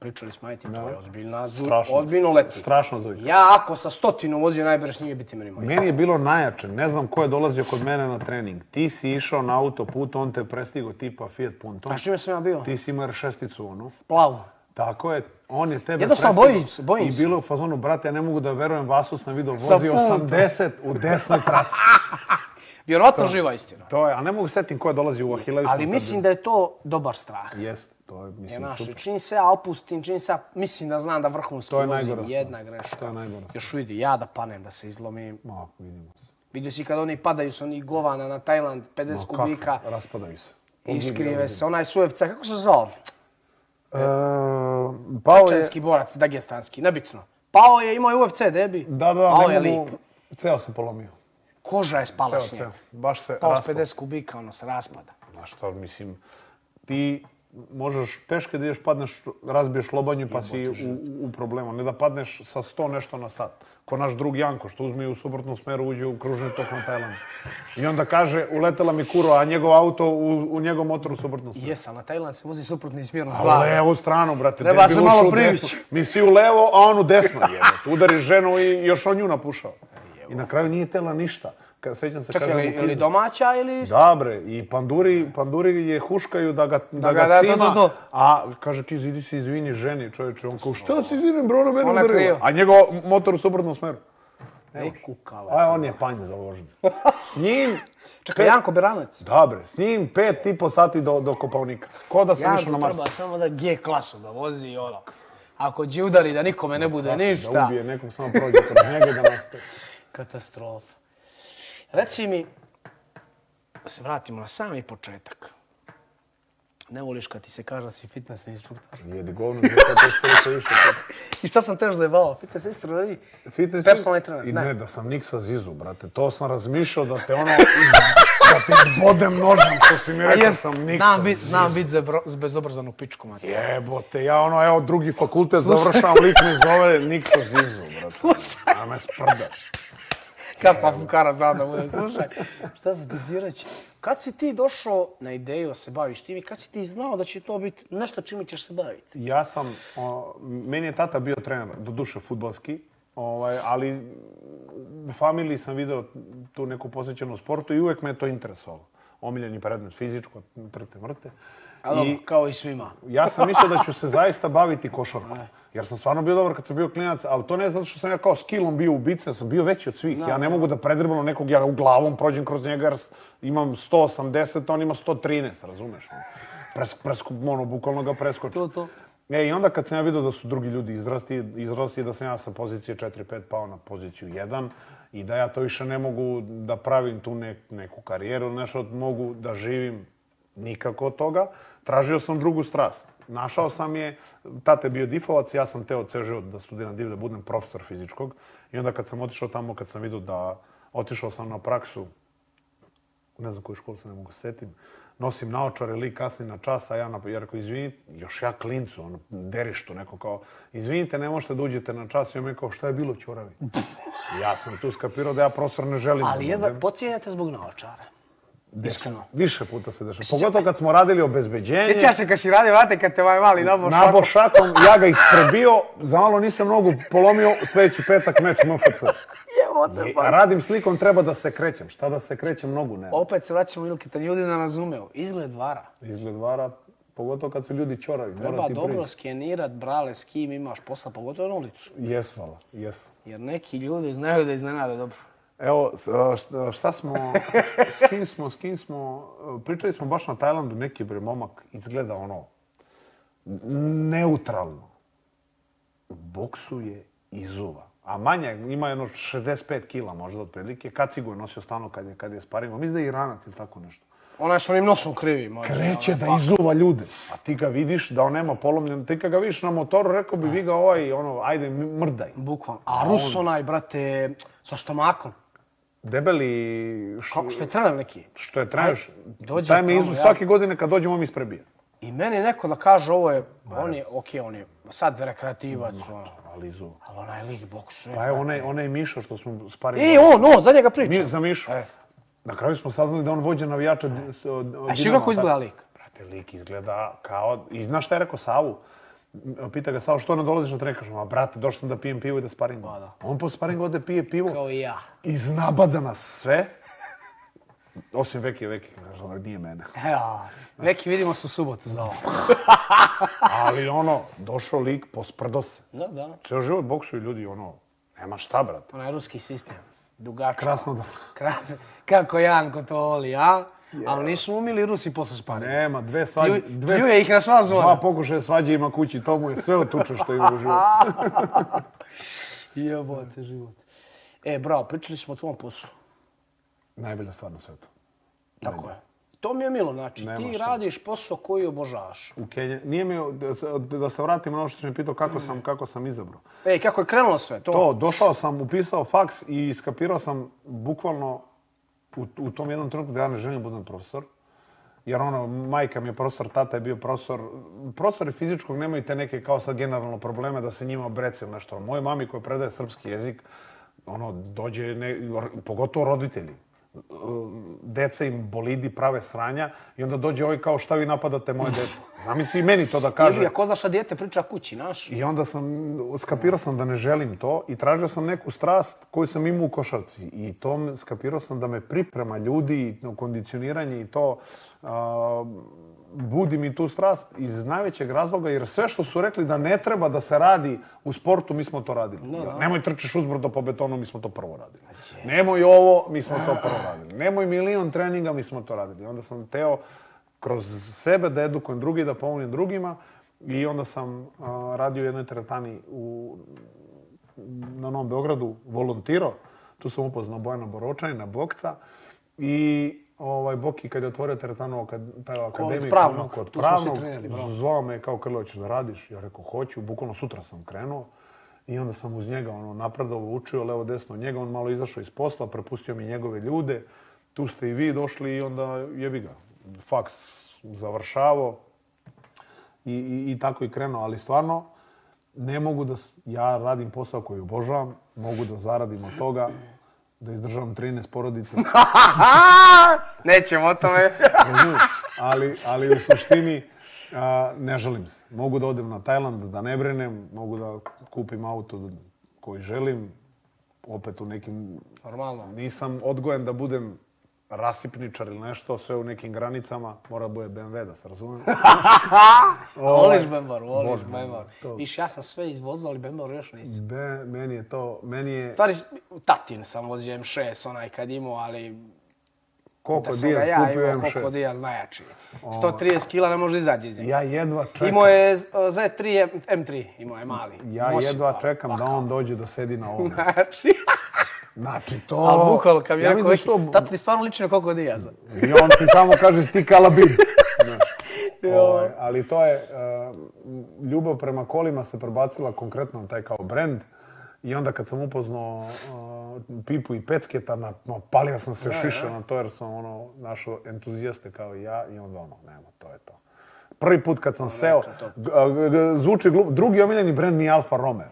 [SPEAKER 1] Pričali smo, ajte, to je ozbiljna, zu-
[SPEAKER 2] Strašno.
[SPEAKER 1] ozbiljno leti.
[SPEAKER 2] Strašno zujka.
[SPEAKER 1] Ja ako sa stotinu vozio najbrž nije biti minimum.
[SPEAKER 2] Meni je bilo najjače, ne znam ko je dolazio kod mene na trening. Ti si išao na autoput, on te prestigo tipa Fiat Punto.
[SPEAKER 1] A čime sam ja bio?
[SPEAKER 2] Ti si imao šesticu onu.
[SPEAKER 1] Plavo.
[SPEAKER 2] Tako je, on je tebe
[SPEAKER 1] Jednostavno
[SPEAKER 2] prestigao
[SPEAKER 1] bojim se, bojim
[SPEAKER 2] I
[SPEAKER 1] se.
[SPEAKER 2] bilo je u fazonu, brate, ja ne mogu da verujem, vasu sam vidio,
[SPEAKER 1] Sa
[SPEAKER 2] vozi
[SPEAKER 1] puta.
[SPEAKER 2] 80 u desnoj
[SPEAKER 1] *laughs*
[SPEAKER 2] traci.
[SPEAKER 1] Vjerojatno živa istina.
[SPEAKER 2] To je, a ne mogu setim ko je dolazi u Ahilaju.
[SPEAKER 1] Ali mislim da je to dobar strah.
[SPEAKER 2] Jest, to je, mislim,
[SPEAKER 1] Znaš,
[SPEAKER 2] super.
[SPEAKER 1] čim se ja opustim, čim se ja, mislim da znam da vrhunski
[SPEAKER 2] To je
[SPEAKER 1] vozim,
[SPEAKER 2] najgora stvar.
[SPEAKER 1] jedna greška.
[SPEAKER 2] To je najgora stvar.
[SPEAKER 1] Još vidi, ja da panem, da se izlomim.
[SPEAKER 2] Ma, vidimo se.
[SPEAKER 1] Vidio si kad oni padaju sa onih govana na Tajland, 50
[SPEAKER 2] Ma,
[SPEAKER 1] kubika,
[SPEAKER 2] kako? Pa Raspadaju se.
[SPEAKER 1] iskrive se, onaj sujevca, kako se zvao?
[SPEAKER 2] E, pao je...
[SPEAKER 1] Čečenski borac, dagestanski, nebitno. Pao je, imao je UFC debi.
[SPEAKER 2] Da,
[SPEAKER 1] Pao
[SPEAKER 2] da,
[SPEAKER 1] je
[SPEAKER 2] ne mogu...
[SPEAKER 1] lik.
[SPEAKER 2] Ceo se polomio.
[SPEAKER 1] Koža je spala
[SPEAKER 2] Ceo,
[SPEAKER 1] s njega.
[SPEAKER 2] ceo. Baš se
[SPEAKER 1] Pao s
[SPEAKER 2] raspao.
[SPEAKER 1] 50 kubika, ono se raspada.
[SPEAKER 2] Ma šta, mislim, ti možeš peške da ideš, padneš, razbiješ lobanju pa si u, u problemu. Ne da padneš sa 100 nešto na sat. Ko naš drug Janko, što uzme i u suprotnom smeru uđe u kružni tok na Tajlandu. I onda kaže, uletela mi kuro, a njegov auto u, u njegov motor u suprotnom smeru.
[SPEAKER 1] Jesam, na Tajland se vozi suprotni smjerno
[SPEAKER 2] A u
[SPEAKER 1] stvar.
[SPEAKER 2] levu stranu, brate.
[SPEAKER 1] Treba
[SPEAKER 2] debil
[SPEAKER 1] se
[SPEAKER 2] ušao
[SPEAKER 1] malo
[SPEAKER 2] u desnu.
[SPEAKER 1] privići.
[SPEAKER 2] Mi svi u levo, a on u desno jebote. Udariš ženu i još on nju napušao. I na kraju nije tela ništa. Kad, sećam se,
[SPEAKER 1] Čekaj,
[SPEAKER 2] kaže
[SPEAKER 1] ili,
[SPEAKER 2] mu
[SPEAKER 1] ili
[SPEAKER 2] kliza.
[SPEAKER 1] domaća ili...
[SPEAKER 2] Da bre, i panduri, panduri je huškaju da ga, da
[SPEAKER 1] ga-
[SPEAKER 2] ga,
[SPEAKER 1] da, to,
[SPEAKER 2] cima,
[SPEAKER 1] to, to.
[SPEAKER 2] a kaže ti idi se izvini ženi čovječe. On kao šta se izvinim bro, ona mene
[SPEAKER 1] Ona je kriva.
[SPEAKER 2] udarila. A njegov motor u suprotnom smeru.
[SPEAKER 1] Ne kukala.
[SPEAKER 2] A on je panj
[SPEAKER 1] *laughs*
[SPEAKER 2] založen. S njim,
[SPEAKER 1] Čekaj, Janko Beranac.
[SPEAKER 2] da bre, s njim pet i po sati do, do kopalnika. Ko da sam išao na
[SPEAKER 1] Janko
[SPEAKER 2] Mars.
[SPEAKER 1] treba samo da G klasu da vozi i ono. Ako će udari da nikome ne bude ništa.
[SPEAKER 2] Da ubije nekog, samo prođe kroz njega i da nastaje.
[SPEAKER 1] Katastrofa. Reci mi, da se vratimo na sami početak. Ne voliš kad ti se kaže da si fitness instruktor.
[SPEAKER 2] Jedi govno, nije to sve više više.
[SPEAKER 1] I šta sam tež zajebao? Fitness instruktor i
[SPEAKER 2] Fitness
[SPEAKER 1] Personalni trener,
[SPEAKER 2] I
[SPEAKER 1] ne.
[SPEAKER 2] ne, da sam Niksa Zizu, brate. To sam razmišljao da te ono... da te bodem nožem, što si mi rekao sam Niksa
[SPEAKER 1] znam bit,
[SPEAKER 2] Zizu.
[SPEAKER 1] znam bit zebro- z bezobrazanu pičku, mate.
[SPEAKER 2] Jebote, ja ono, evo, drugi fakultet završavam, lik me zove Niksa Zizu, brate. Slušaj. A me sprdaš.
[SPEAKER 1] Kapa pa fukara znam da bude. Slušaj, *laughs* šta sam ti ti reći? Kad si ti došao na ideju da se baviš tim i kad si ti znao da će to biti nešto čime ćeš se baviti?
[SPEAKER 2] Ja sam, o, meni je tata bio trener, doduše futbalski, ovaj, ali u familiji sam video tu neku posjećenost sportu i uvek me je to interesovalo. Omiljeni predmet fizičko, trte mrte.
[SPEAKER 1] A dobro, kao i svima.
[SPEAKER 2] Ja sam mislio da ću se zaista baviti košarkom. Jer sam stvarno bio dobar kad sam bio klinac, ali to ne zato što sam ja kao skillom bio ubica, sam bio veći od svih. ja ne mogu da predribulam nekog, ja u glavom prođem kroz njega jer s- imam 180, on ima 113, razumeš? Pres, presku, ono, bukvalno ga preskoči.
[SPEAKER 1] To, to.
[SPEAKER 2] E, i onda kad sam ja vidio da su drugi ljudi izrasti, izrasti da sam ja sa pozicije 4-5 pao na poziciju 1 i da ja to više ne mogu da pravim tu ne- neku karijeru, nešto mogu da živim nikako od toga. Tražio sam drugu strast. Našao sam je, tate je bio difovac, ja sam teo ceo život da studiram div, da budem profesor fizičkog. I onda kad sam otišao tamo, kad sam vidio da otišao sam na praksu ne znam koju školu se ne mogu setim, nosim naočare, lik kasni na čas, a ja, na, ja rekao, izvinite, još ja klincu, ono, derištu, neko kao, izvinite, ne možete da uđete na čas. I on mi je kao, šta je bilo, čuravi? ja sam tu skapirao da ja profesor ne želim.
[SPEAKER 1] Ali
[SPEAKER 2] da
[SPEAKER 1] je
[SPEAKER 2] budem.
[SPEAKER 1] pocijenjate zbog naočara. Iskreno.
[SPEAKER 2] Više puta se dešava. Pogotovo kad smo radili obezbeđenje.
[SPEAKER 1] Sjećaš se kad si radio, vrate, kad te ovaj mali nabor šako-
[SPEAKER 2] Nabo šakom, ja ga isprebio, za malo nisam nogu polomio, sljedeći petak meč
[SPEAKER 1] *laughs*
[SPEAKER 2] MFC.
[SPEAKER 1] Jebote,
[SPEAKER 2] A
[SPEAKER 1] pa.
[SPEAKER 2] radim slikom, treba da se krećem. Šta da se krećem, nogu nema.
[SPEAKER 1] Opet se vraćamo ili kad ljudi ne razumeo. Izgled vara.
[SPEAKER 2] Izgled vara, pogotovo kad su ljudi čoravi.
[SPEAKER 1] Treba
[SPEAKER 2] mora ti
[SPEAKER 1] dobro
[SPEAKER 2] prići.
[SPEAKER 1] skenirat, brale, s kim imaš posla, pogotovo na ulicu.
[SPEAKER 2] Jes, vala, jes.
[SPEAKER 1] Jer neki ljudi znaju da iznenade dobro.
[SPEAKER 2] Evo, s- a, šta- šta smo, s kim smo, s kim smo, e, pričali smo baš na Tajlandu, neki bre momak izgleda ono, neutralno. Boksuje izuva. A manja, je, ima jedno 65 kila možda otprilike. Kacigu je nosio stalno kad je, kad je sparimo. Mislim da je Iranac ili tako nešto.
[SPEAKER 1] Onaj što onim nosom krivi, može.
[SPEAKER 2] Kreće da izuva ljude. A ti ga vidiš da on nema polomljen. Ti kad ga vidiš na motoru, rekao bi vi ga ovaj, ono, ajde, m- mrdaj.
[SPEAKER 1] Bukvalno. A Rus onaj, brate, sa stomakom.
[SPEAKER 2] Debeli... š-
[SPEAKER 1] Kako što je trener neki.
[SPEAKER 2] što je trajaš,
[SPEAKER 1] Aj, dođe
[SPEAKER 2] taj me
[SPEAKER 1] tamo,
[SPEAKER 2] izuz
[SPEAKER 1] ja.
[SPEAKER 2] svake godine kad dođemo mi isprebija.
[SPEAKER 1] I meni neko da kaže ovo je, on je, okej, on je sad rekreativac, ono.
[SPEAKER 2] Ali izu.
[SPEAKER 1] Ali onaj lik boksuje.
[SPEAKER 2] Pa je onaj, onaj Miša što smo sparili.
[SPEAKER 1] E, on, on, za njega pričam.
[SPEAKER 2] Mi, za Mišu.
[SPEAKER 1] E.
[SPEAKER 2] Na kraju smo saznali da on vođe navijača. d- s- od- od
[SPEAKER 1] A si
[SPEAKER 2] Dinama,
[SPEAKER 1] kako izgleda
[SPEAKER 2] tako.
[SPEAKER 1] lik?
[SPEAKER 2] Brate, lik izgleda kao... I znaš šta je rekao Savu? Pita ga, Savo, što ne dolaziš na trening? Kažem, a brate, došao sam da pijem pivo i da sparim.
[SPEAKER 1] Pa da.
[SPEAKER 2] On po sparingu ode pije pivo
[SPEAKER 1] Kao i ja.
[SPEAKER 2] i znabada nas sve. Osim Veki, Veki, kaže, "Dobro, ono, nije
[SPEAKER 1] *laughs*
[SPEAKER 2] mene.
[SPEAKER 1] Ja, E, neki vidimo se u subotu za ovo.
[SPEAKER 2] Ali ono, došao lik, posprdo se.
[SPEAKER 1] Da, da.
[SPEAKER 2] Ceo život boksuju ljudi, ono, nema šta, brate.
[SPEAKER 1] Onaj ruski sistem. Dugačko.
[SPEAKER 2] Krasno da...
[SPEAKER 1] Kras- Kako Janko to voli, a? Ali nisu umili Rusi posle španije.
[SPEAKER 2] Nema, dve svađe,
[SPEAKER 1] Plju-
[SPEAKER 2] dve...
[SPEAKER 1] Pljuje ih na sva zvona.
[SPEAKER 2] Dva pokušaja svađe ima kući, to mu je sve otuče što ima u *laughs* životu.
[SPEAKER 1] *laughs* Jebote život. E, bravo, pričali smo o tvom poslu.
[SPEAKER 2] Najbolja stvar na svetu.
[SPEAKER 1] Tako je. To mi je milo, znači
[SPEAKER 2] Nema
[SPEAKER 1] ti
[SPEAKER 2] šta.
[SPEAKER 1] radiš posao koji obožavaš.
[SPEAKER 2] U Kenji, nije mi, da se, da se vratim na ono što si me pitao kako sam, kako sam izabrao.
[SPEAKER 1] Ej, E, kako je krenulo sve to?
[SPEAKER 2] To, došao sam, upisao faks i iskapirao sam bukvalno u, u tom jednom trenutku da ja ne želim da budem profesor. Jer ono, majka mi je profesor, tata je bio profesor. Profesori fizičkog nemaju te neke kao sad generalno probleme da se njima obrece ili nešto. Moj mami koja predaje srpski jezik, ono, dođe, ne, pogotovo roditelji. Deca im bolidi prave sranja i onda dođe ovaj kao šta vi napadate moje dete. Zamisli i meni to da kaže.
[SPEAKER 1] Ili ako znaš šta dijete priča kući, *laughs*
[SPEAKER 2] *laughs*
[SPEAKER 1] znaš?
[SPEAKER 2] I onda sam, skapirao sam da ne želim to i tražio sam neku strast koju sam imao u košarci. I to m- skapirao sam da me priprema ljudi, kondicioniranje i to a, budi mi tu strast iz najvećeg razloga jer sve što su rekli da ne treba da se radi u sportu, mi smo to radili. Nemoj trčiš uzbrdo po betonu, mi smo to prvo radili. Nemoj ovo, mi smo to prvo radili. Nemoj milion treninga, mi smo to radili. Onda sam teo kroz sebe da edukujem drugi, da pomognem drugima. I onda sam a, radio u jednoj teretani u, na Novom Beogradu, volontirao. Tu sam upoznao Bojana Boročanina, bokca. I ovaj, Boki kad je otvorio teretanu kad, taj akademiju,
[SPEAKER 1] Pravnog,
[SPEAKER 2] ono, kod
[SPEAKER 1] tu smo svi
[SPEAKER 2] pravnog,
[SPEAKER 1] trenirali, bravo.
[SPEAKER 2] zvao me kao Krlo, ćeš da radiš? Ja rekao, hoću. Bukvalno sutra sam krenuo. I onda sam uz njega ono, napredovao, učio levo desno od njega. On malo izašao iz posla, prepustio mi njegove ljude. Tu ste i vi došli i onda jebi ga. Faks završavao i, i, i tako i krenuo. Ali stvarno, ne mogu da... s- Ja radim posao koji obožavam, mogu da zaradim od toga, da izdržavam 13 porodica.
[SPEAKER 1] Nećemo o tome.
[SPEAKER 2] Razumiješ? ali, ali u suštini a, ne želim se. Mogu da odem na Tajland da ne brinem, mogu da kupim auto koji želim. Opet u nekim...
[SPEAKER 1] Normalno.
[SPEAKER 2] Nisam odgojen da budem rasipničar ili nešto, sve u nekim granicama. Mora da bude BMW da
[SPEAKER 1] *laughs*
[SPEAKER 2] se razumem. Ovaj,
[SPEAKER 1] Voliš Bembar, voliš
[SPEAKER 2] volim
[SPEAKER 1] Bembar.
[SPEAKER 2] to. Mm.
[SPEAKER 1] Viš, ja sam sve izvozao, ali Bembar još nisam.
[SPEAKER 2] Be, meni je to, meni je...
[SPEAKER 1] U stvari, tatin sam vozio M6, onaj kad imao, ali
[SPEAKER 2] Koliko
[SPEAKER 1] da sam ga
[SPEAKER 2] Diaz
[SPEAKER 1] ja
[SPEAKER 2] kupio
[SPEAKER 1] imao, koliko
[SPEAKER 2] M6.
[SPEAKER 1] Dijas najjači. 130 kila ne može izaći iz njega.
[SPEAKER 2] Ja jedva čekam,
[SPEAKER 1] Imao je e, Z- Z3 M- M3, imao je mali.
[SPEAKER 2] ja
[SPEAKER 1] Dvosica,
[SPEAKER 2] jedva čekam da
[SPEAKER 1] pakao.
[SPEAKER 2] on dođe da sedi
[SPEAKER 1] *laughs*
[SPEAKER 2] na ovom. mjestu.
[SPEAKER 1] Znači,
[SPEAKER 2] Znači to...
[SPEAKER 1] ali bukvalno kad mi je
[SPEAKER 2] Ja
[SPEAKER 1] rekao,
[SPEAKER 2] mislim
[SPEAKER 1] "Veki,
[SPEAKER 2] što-
[SPEAKER 1] tato ti stvarno liči na Koko Dijaza.
[SPEAKER 2] I on ti samo kaže
[SPEAKER 1] *laughs*
[SPEAKER 2] sti kalabin. Znaš. Ovaj, ali to je, uh, ljubav prema kolima se prebacila konkretno na taj kao brend. I onda kad sam upoznao uh, Pipu i Pecketa, na, no, palio sam se šiše na to jer sam ono, našao entuzijaste kao i ja i onda ono, nema, to je to. Prvi put kad sam
[SPEAKER 1] Ono,
[SPEAKER 2] seo, g- g- zvuči glupo, drugi omiljeni brend mi je Alfa Romeo.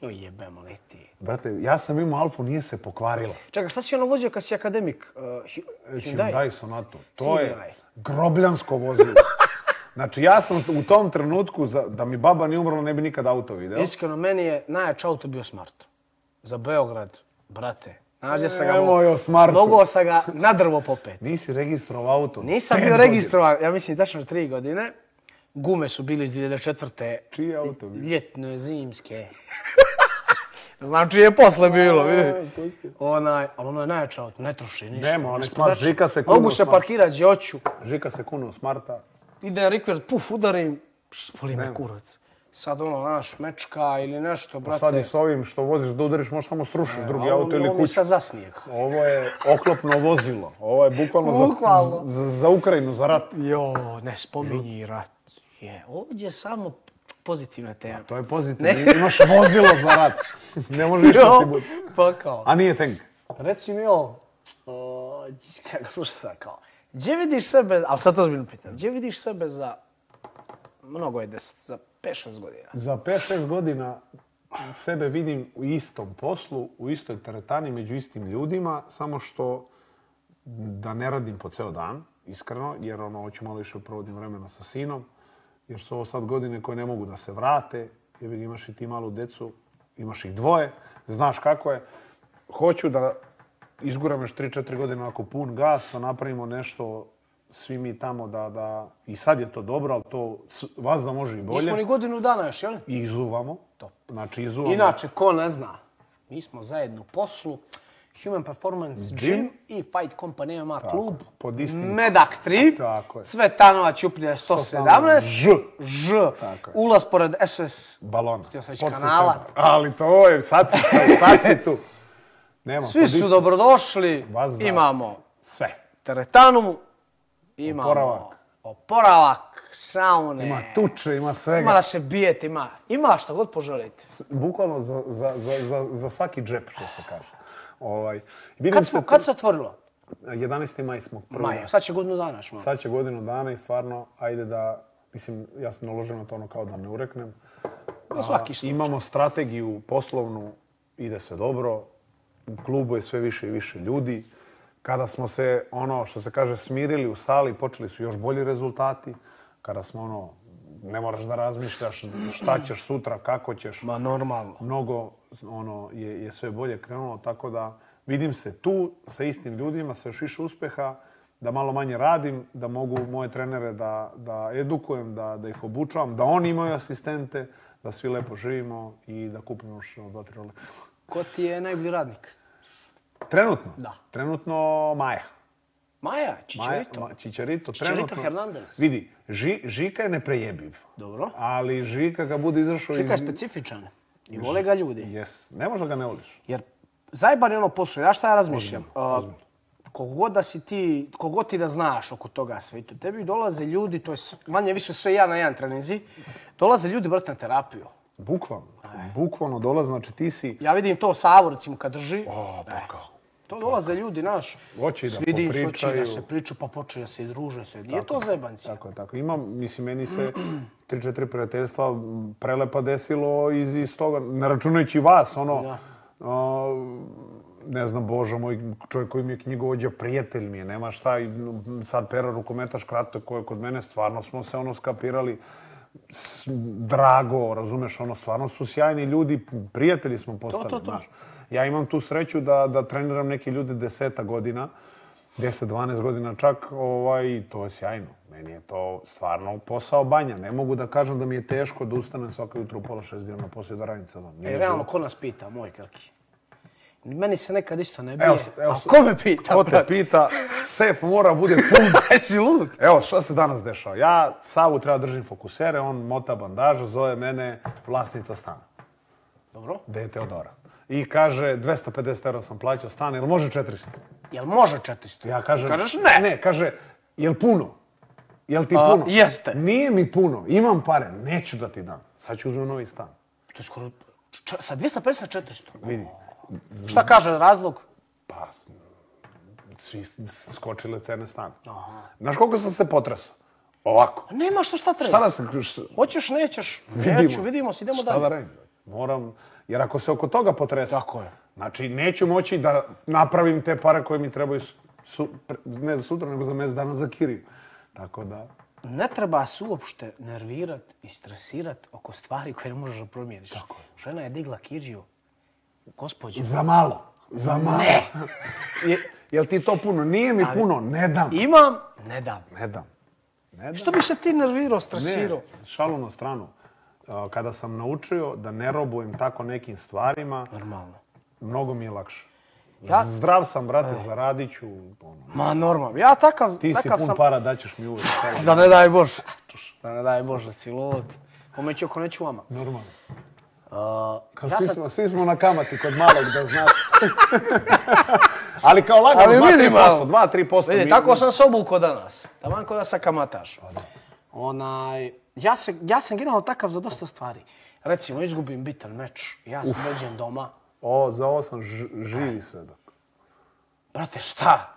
[SPEAKER 2] Mm.
[SPEAKER 1] O jebemo li ti.
[SPEAKER 2] Brate, ja sam imao Alfu, nije se pokvarila.
[SPEAKER 1] Čekaj, šta si ono vozio kad si akademik? Uh, Hy- Hyundai?
[SPEAKER 2] Hyundai Sonatu. To
[SPEAKER 1] Sivijaj.
[SPEAKER 2] je grobljansko
[SPEAKER 1] *laughs*
[SPEAKER 2] vozilo. Znači, ja sam u tom trenutku, za- da mi baba nije umrla, ne bi nikad auto video.
[SPEAKER 1] Iskreno, meni je najjač auto bio Smart. Za Beograd, brate. Znaš gdje sam ga... mo-
[SPEAKER 2] Nemoj E, o Smartu.
[SPEAKER 1] Mogao sam ga na drvo popet.
[SPEAKER 2] Nisi registrovao auto.
[SPEAKER 1] Nisam
[SPEAKER 2] pet
[SPEAKER 1] bio
[SPEAKER 2] godina.
[SPEAKER 1] registrovan, ja mislim, tačno tri godine. Gume su bili iz 2004.
[SPEAKER 2] Čije auto bio?
[SPEAKER 1] Ljetne, zimske. *laughs* Znači je posle bilo, vidi. Onaj, ali ono je najjače auto, ne troši ništa.
[SPEAKER 2] Nema, onaj
[SPEAKER 1] Mislim,
[SPEAKER 2] smart,
[SPEAKER 1] znači,
[SPEAKER 2] žika se kuno
[SPEAKER 1] Mogu se
[SPEAKER 2] smart.
[SPEAKER 1] parkirati gdje hoću.
[SPEAKER 2] Žika se kuno u smarta.
[SPEAKER 1] Ide rikvert, puf, udarim, š, boli me kurac. Sad ono, naš, mečka ili nešto, brate.
[SPEAKER 2] Sad i s ovim što voziš da udariš, možeš samo srušiti drugi
[SPEAKER 1] A ovo
[SPEAKER 2] auto
[SPEAKER 1] mi-
[SPEAKER 2] ili
[SPEAKER 1] ovo mi
[SPEAKER 2] kuću.
[SPEAKER 1] sad zasnije.
[SPEAKER 2] Ovo je oklopno vozilo. Ovo je bukvalno, za-
[SPEAKER 1] Bukvalno.
[SPEAKER 2] Za, za Ukrajinu, za rat.
[SPEAKER 1] Jo, ne spominji rat. Je, ovdje je samo pozitivna tema.
[SPEAKER 2] To je pozitivno. Imaš vozilo za
[SPEAKER 1] *laughs*
[SPEAKER 2] rat. Ne može ništa ti
[SPEAKER 1] Jo,
[SPEAKER 2] bude.
[SPEAKER 1] pa kao.
[SPEAKER 2] A nije tank.
[SPEAKER 1] Reci mi ovo, o, kako slušaj sad, kao, gdje vidiš sebe, ali sad to zbiljno pitam, gdje vidiš sebe za, mnogo je deset, za 5-6 godina?
[SPEAKER 2] Za 5-6 godina sebe vidim u istom poslu, u istoj teretani, među istim ljudima, samo što da ne radim po ceo dan, iskreno, jer ono, hoću malo više provodim vremena sa sinom. jer su ovo sad godine koje ne mogu da se vrate, jer imaš i ti malu decu, imaš ih dvoje, znaš kako je. Hoću da izguram još 3-4 godine onako pun gas, da napravimo nešto svi mi tamo da, da... I sad je to dobro, ali to s- vas da može i bolje.
[SPEAKER 1] Nismo ni godinu dana još, jel?
[SPEAKER 2] I izuvamo. Znači izuvamo.
[SPEAKER 1] Inače, ko ne zna, mi smo zajedno u poslu. Human Performance Gym, i Fight Company MMA klub.
[SPEAKER 2] pod istim-
[SPEAKER 1] Medak 3.
[SPEAKER 2] E, Tako je.
[SPEAKER 1] Cvetanova Ćuprija 117.
[SPEAKER 2] Ž.
[SPEAKER 1] Ž.
[SPEAKER 2] Tako je.
[SPEAKER 1] Ulaz pored SS.
[SPEAKER 2] Balona.
[SPEAKER 1] Htio sam reći
[SPEAKER 2] Sportskog
[SPEAKER 1] kanala.
[SPEAKER 2] centra. Ali to je, sad si, tu, sad si tu. Nema,
[SPEAKER 1] Svi
[SPEAKER 2] pod
[SPEAKER 1] su
[SPEAKER 2] istim-
[SPEAKER 1] dobrodošli.
[SPEAKER 2] Vas da.
[SPEAKER 1] Imamo
[SPEAKER 2] Sve.
[SPEAKER 1] teretanu. Imamo
[SPEAKER 2] Oporavak.
[SPEAKER 1] oporavak, saune.
[SPEAKER 2] Ima tuče, ima svega.
[SPEAKER 1] Ima da se bijete, ima. Ima što god poželite.
[SPEAKER 2] Bukvalno za, za, za, za, za svaki džep, što se kaže. Ovaj. vidim
[SPEAKER 1] Kad,
[SPEAKER 2] se
[SPEAKER 1] smo,
[SPEAKER 2] tu-
[SPEAKER 1] kad se otvorilo?
[SPEAKER 2] 11. maj smo prvi.
[SPEAKER 1] Maja. Sad će godinu dana još malo.
[SPEAKER 2] Sad će godinu dana i stvarno, ajde da, mislim, ja sam naložen na to ono kao da ne ureknem.
[SPEAKER 1] Na svaki slučaj.
[SPEAKER 2] Imamo strategiju poslovnu, ide sve dobro, u klubu je sve više i više ljudi. Kada smo se, ono što se kaže, smirili u sali, počeli su još bolji rezultati. Kada smo, ono, ne moraš da razmišljaš šta ćeš sutra, kako ćeš.
[SPEAKER 1] Ma normalno.
[SPEAKER 2] Mnogo ono, je, je sve bolje krenulo, tako da vidim se tu sa istim ljudima, sa još više uspeha, da malo manje radim, da mogu moje trenere da, da edukujem, da, da ih obučavam, da oni imaju asistente, da svi lepo živimo i da kupimo još ono, dva, tri Rolexa.
[SPEAKER 1] Ko ti je najbolji radnik?
[SPEAKER 2] Trenutno?
[SPEAKER 1] Da.
[SPEAKER 2] Trenutno Maja.
[SPEAKER 1] Maja, Čičerito.
[SPEAKER 2] Ma- ma- Čičerito,
[SPEAKER 1] Čičerito
[SPEAKER 2] trenutno.
[SPEAKER 1] Hernandez.
[SPEAKER 2] Vidi, Ži- Žika je neprejebiv.
[SPEAKER 1] Dobro.
[SPEAKER 2] Ali Žika kad bude izašao
[SPEAKER 1] Čika je
[SPEAKER 2] iz...
[SPEAKER 1] specifičan. I vole ga ljudi.
[SPEAKER 2] Jes, ne možeš da ga ne voliš.
[SPEAKER 1] Jer zajeban je ono posao. Ja šta ja razmišljam? A, Koliko god da si ti, koliko god ti da znaš oko toga sve, i to tebi dolaze ljudi, to je s- manje više sve ja na jedan trenizi, dolaze ljudi brati na terapiju.
[SPEAKER 2] Bukvalno. Bukvalno dolazi, znači ti si...
[SPEAKER 1] Ja vidim to Savu recimo kad drži.
[SPEAKER 2] O, pa
[SPEAKER 1] E,
[SPEAKER 2] kao.
[SPEAKER 1] To dolaze ljudi, naš,
[SPEAKER 2] Hoće i da
[SPEAKER 1] svidim se, hoće i da
[SPEAKER 2] popričaju.
[SPEAKER 1] se priču, pa počeju da se i druže sve. Nije to zajebancija.
[SPEAKER 2] Tako je, tako. Imam, mislim, meni se *clears throat* tri, četiri prijateljstva m, prelepa desilo iz, iz toga, ne računajući vas, ono,
[SPEAKER 1] Da.
[SPEAKER 2] a, ne znam, Božo, moj čovjek koji mi je knjigovođa, prijatelj mi je, nema šta, i, m, sad pera rukometaš kratko koji je kod mene, stvarno smo se ono skapirali, s- drago, razumeš, ono, stvarno su sjajni ljudi, prijatelji smo postali,
[SPEAKER 1] to, to.
[SPEAKER 2] znaš. Ja imam tu sreću da, da treniram neke ljude deseta godina, 10-12 godina čak, ovaj, i to je sjajno. Meni je to stvarno posao banja. Ne mogu da kažem da mi je teško da ustanem svako jutro u pola šest dana poslije da radim celom.
[SPEAKER 1] E, realno, ko nas pita, moj krki? Meni se nekad isto ne bije.
[SPEAKER 2] Evo, evo,
[SPEAKER 1] A ko me pita, *laughs*
[SPEAKER 2] Ko te
[SPEAKER 1] brate?
[SPEAKER 2] pita, sef mora bude pun.
[SPEAKER 1] Jesi lud?
[SPEAKER 2] Evo, šta se danas dešava? Ja Savu treba držim fokusere, on mota bandaža, zove mene vlasnica stana.
[SPEAKER 1] Dobro.
[SPEAKER 2] Dete Odora. I kaže, 250 eura sam plaćao stan, jel može 400?
[SPEAKER 1] Jel može 400?
[SPEAKER 2] Ja kažem...
[SPEAKER 1] Kažeš ne.
[SPEAKER 2] Ne, kaže, jel puno? Jel ti
[SPEAKER 1] A,
[SPEAKER 2] puno?
[SPEAKER 1] jeste.
[SPEAKER 2] Nije mi puno, imam pare, neću da ti dam. Sad ću uzmem novi stan.
[SPEAKER 1] To je skoro... č- č- sa 250 na 400.
[SPEAKER 2] Vidi,
[SPEAKER 1] Šta kaže razlog?
[SPEAKER 2] pa, svi skočile cene stana.
[SPEAKER 1] Aha.
[SPEAKER 2] Znaš koliko sam se potresao? Ovako.
[SPEAKER 1] A Pa nema što šta treba.
[SPEAKER 2] Šta da se... š-
[SPEAKER 1] Hoćeš, nećeš,
[SPEAKER 2] Vidimo
[SPEAKER 1] neću,
[SPEAKER 2] se.
[SPEAKER 1] E, vidimo se, idemo
[SPEAKER 2] Šta
[SPEAKER 1] dalje.
[SPEAKER 2] da radim? Moram, jer ako se oko toga potresam,
[SPEAKER 1] Tako je.
[SPEAKER 2] znači neću moći da napravim te pare koje mi trebaju, su- su- pre- ne za sutra, nego za mjesec dana za kiriju. Tako da,
[SPEAKER 1] Ne treba se uopšte nervirat i stresirat oko stvari koje ne možeš da promijeniš. Žena je digla kirđiju. Gospodju,
[SPEAKER 2] za malo, za malo. Ne. jel ti to puno? Nije mi puno, ne dam.
[SPEAKER 1] imam, ne dam.
[SPEAKER 2] Ne dam. Ne dam.
[SPEAKER 1] Što bi se ti nervirao, stresirao?
[SPEAKER 2] Ne, šalu na stranu. A, Kada sam naučio da ne robujem tako nekim stvarima,
[SPEAKER 1] Normalno.
[SPEAKER 2] mnogo mi je lakše.
[SPEAKER 1] Ja-
[SPEAKER 2] Zdrav sam, brate, zaradit ću. Ono.
[SPEAKER 1] Ma normalno. Ja takav,
[SPEAKER 2] Ti si
[SPEAKER 1] takav
[SPEAKER 2] pun pa-
[SPEAKER 1] sam...
[SPEAKER 2] para, daćeš mi uvijek. Šta je?
[SPEAKER 1] Za ne daj Bože. Za ne daj Bože, si lud. Pomeću ako neću vama.
[SPEAKER 2] Normalno.
[SPEAKER 1] A,
[SPEAKER 2] Kao
[SPEAKER 1] Uh, ja
[SPEAKER 2] svi,
[SPEAKER 1] sam...
[SPEAKER 2] smo, svi smo na kamati kod malog, da znaš. *laughs* Ali kao lagano,
[SPEAKER 1] Ali vidi
[SPEAKER 2] 2-3%.
[SPEAKER 1] malo.
[SPEAKER 2] 2-3%.
[SPEAKER 1] Vidi,
[SPEAKER 2] mi-
[SPEAKER 1] tako sam se obukao danas. Taman ko da sam kamataš. Onaj, ja, se, ja sam generalno takav za dosta stvari. Recimo, izgubim bitan meč, ja se dođem doma.
[SPEAKER 2] O, za ovo sam ž- živi svedok.
[SPEAKER 1] Brate, šta?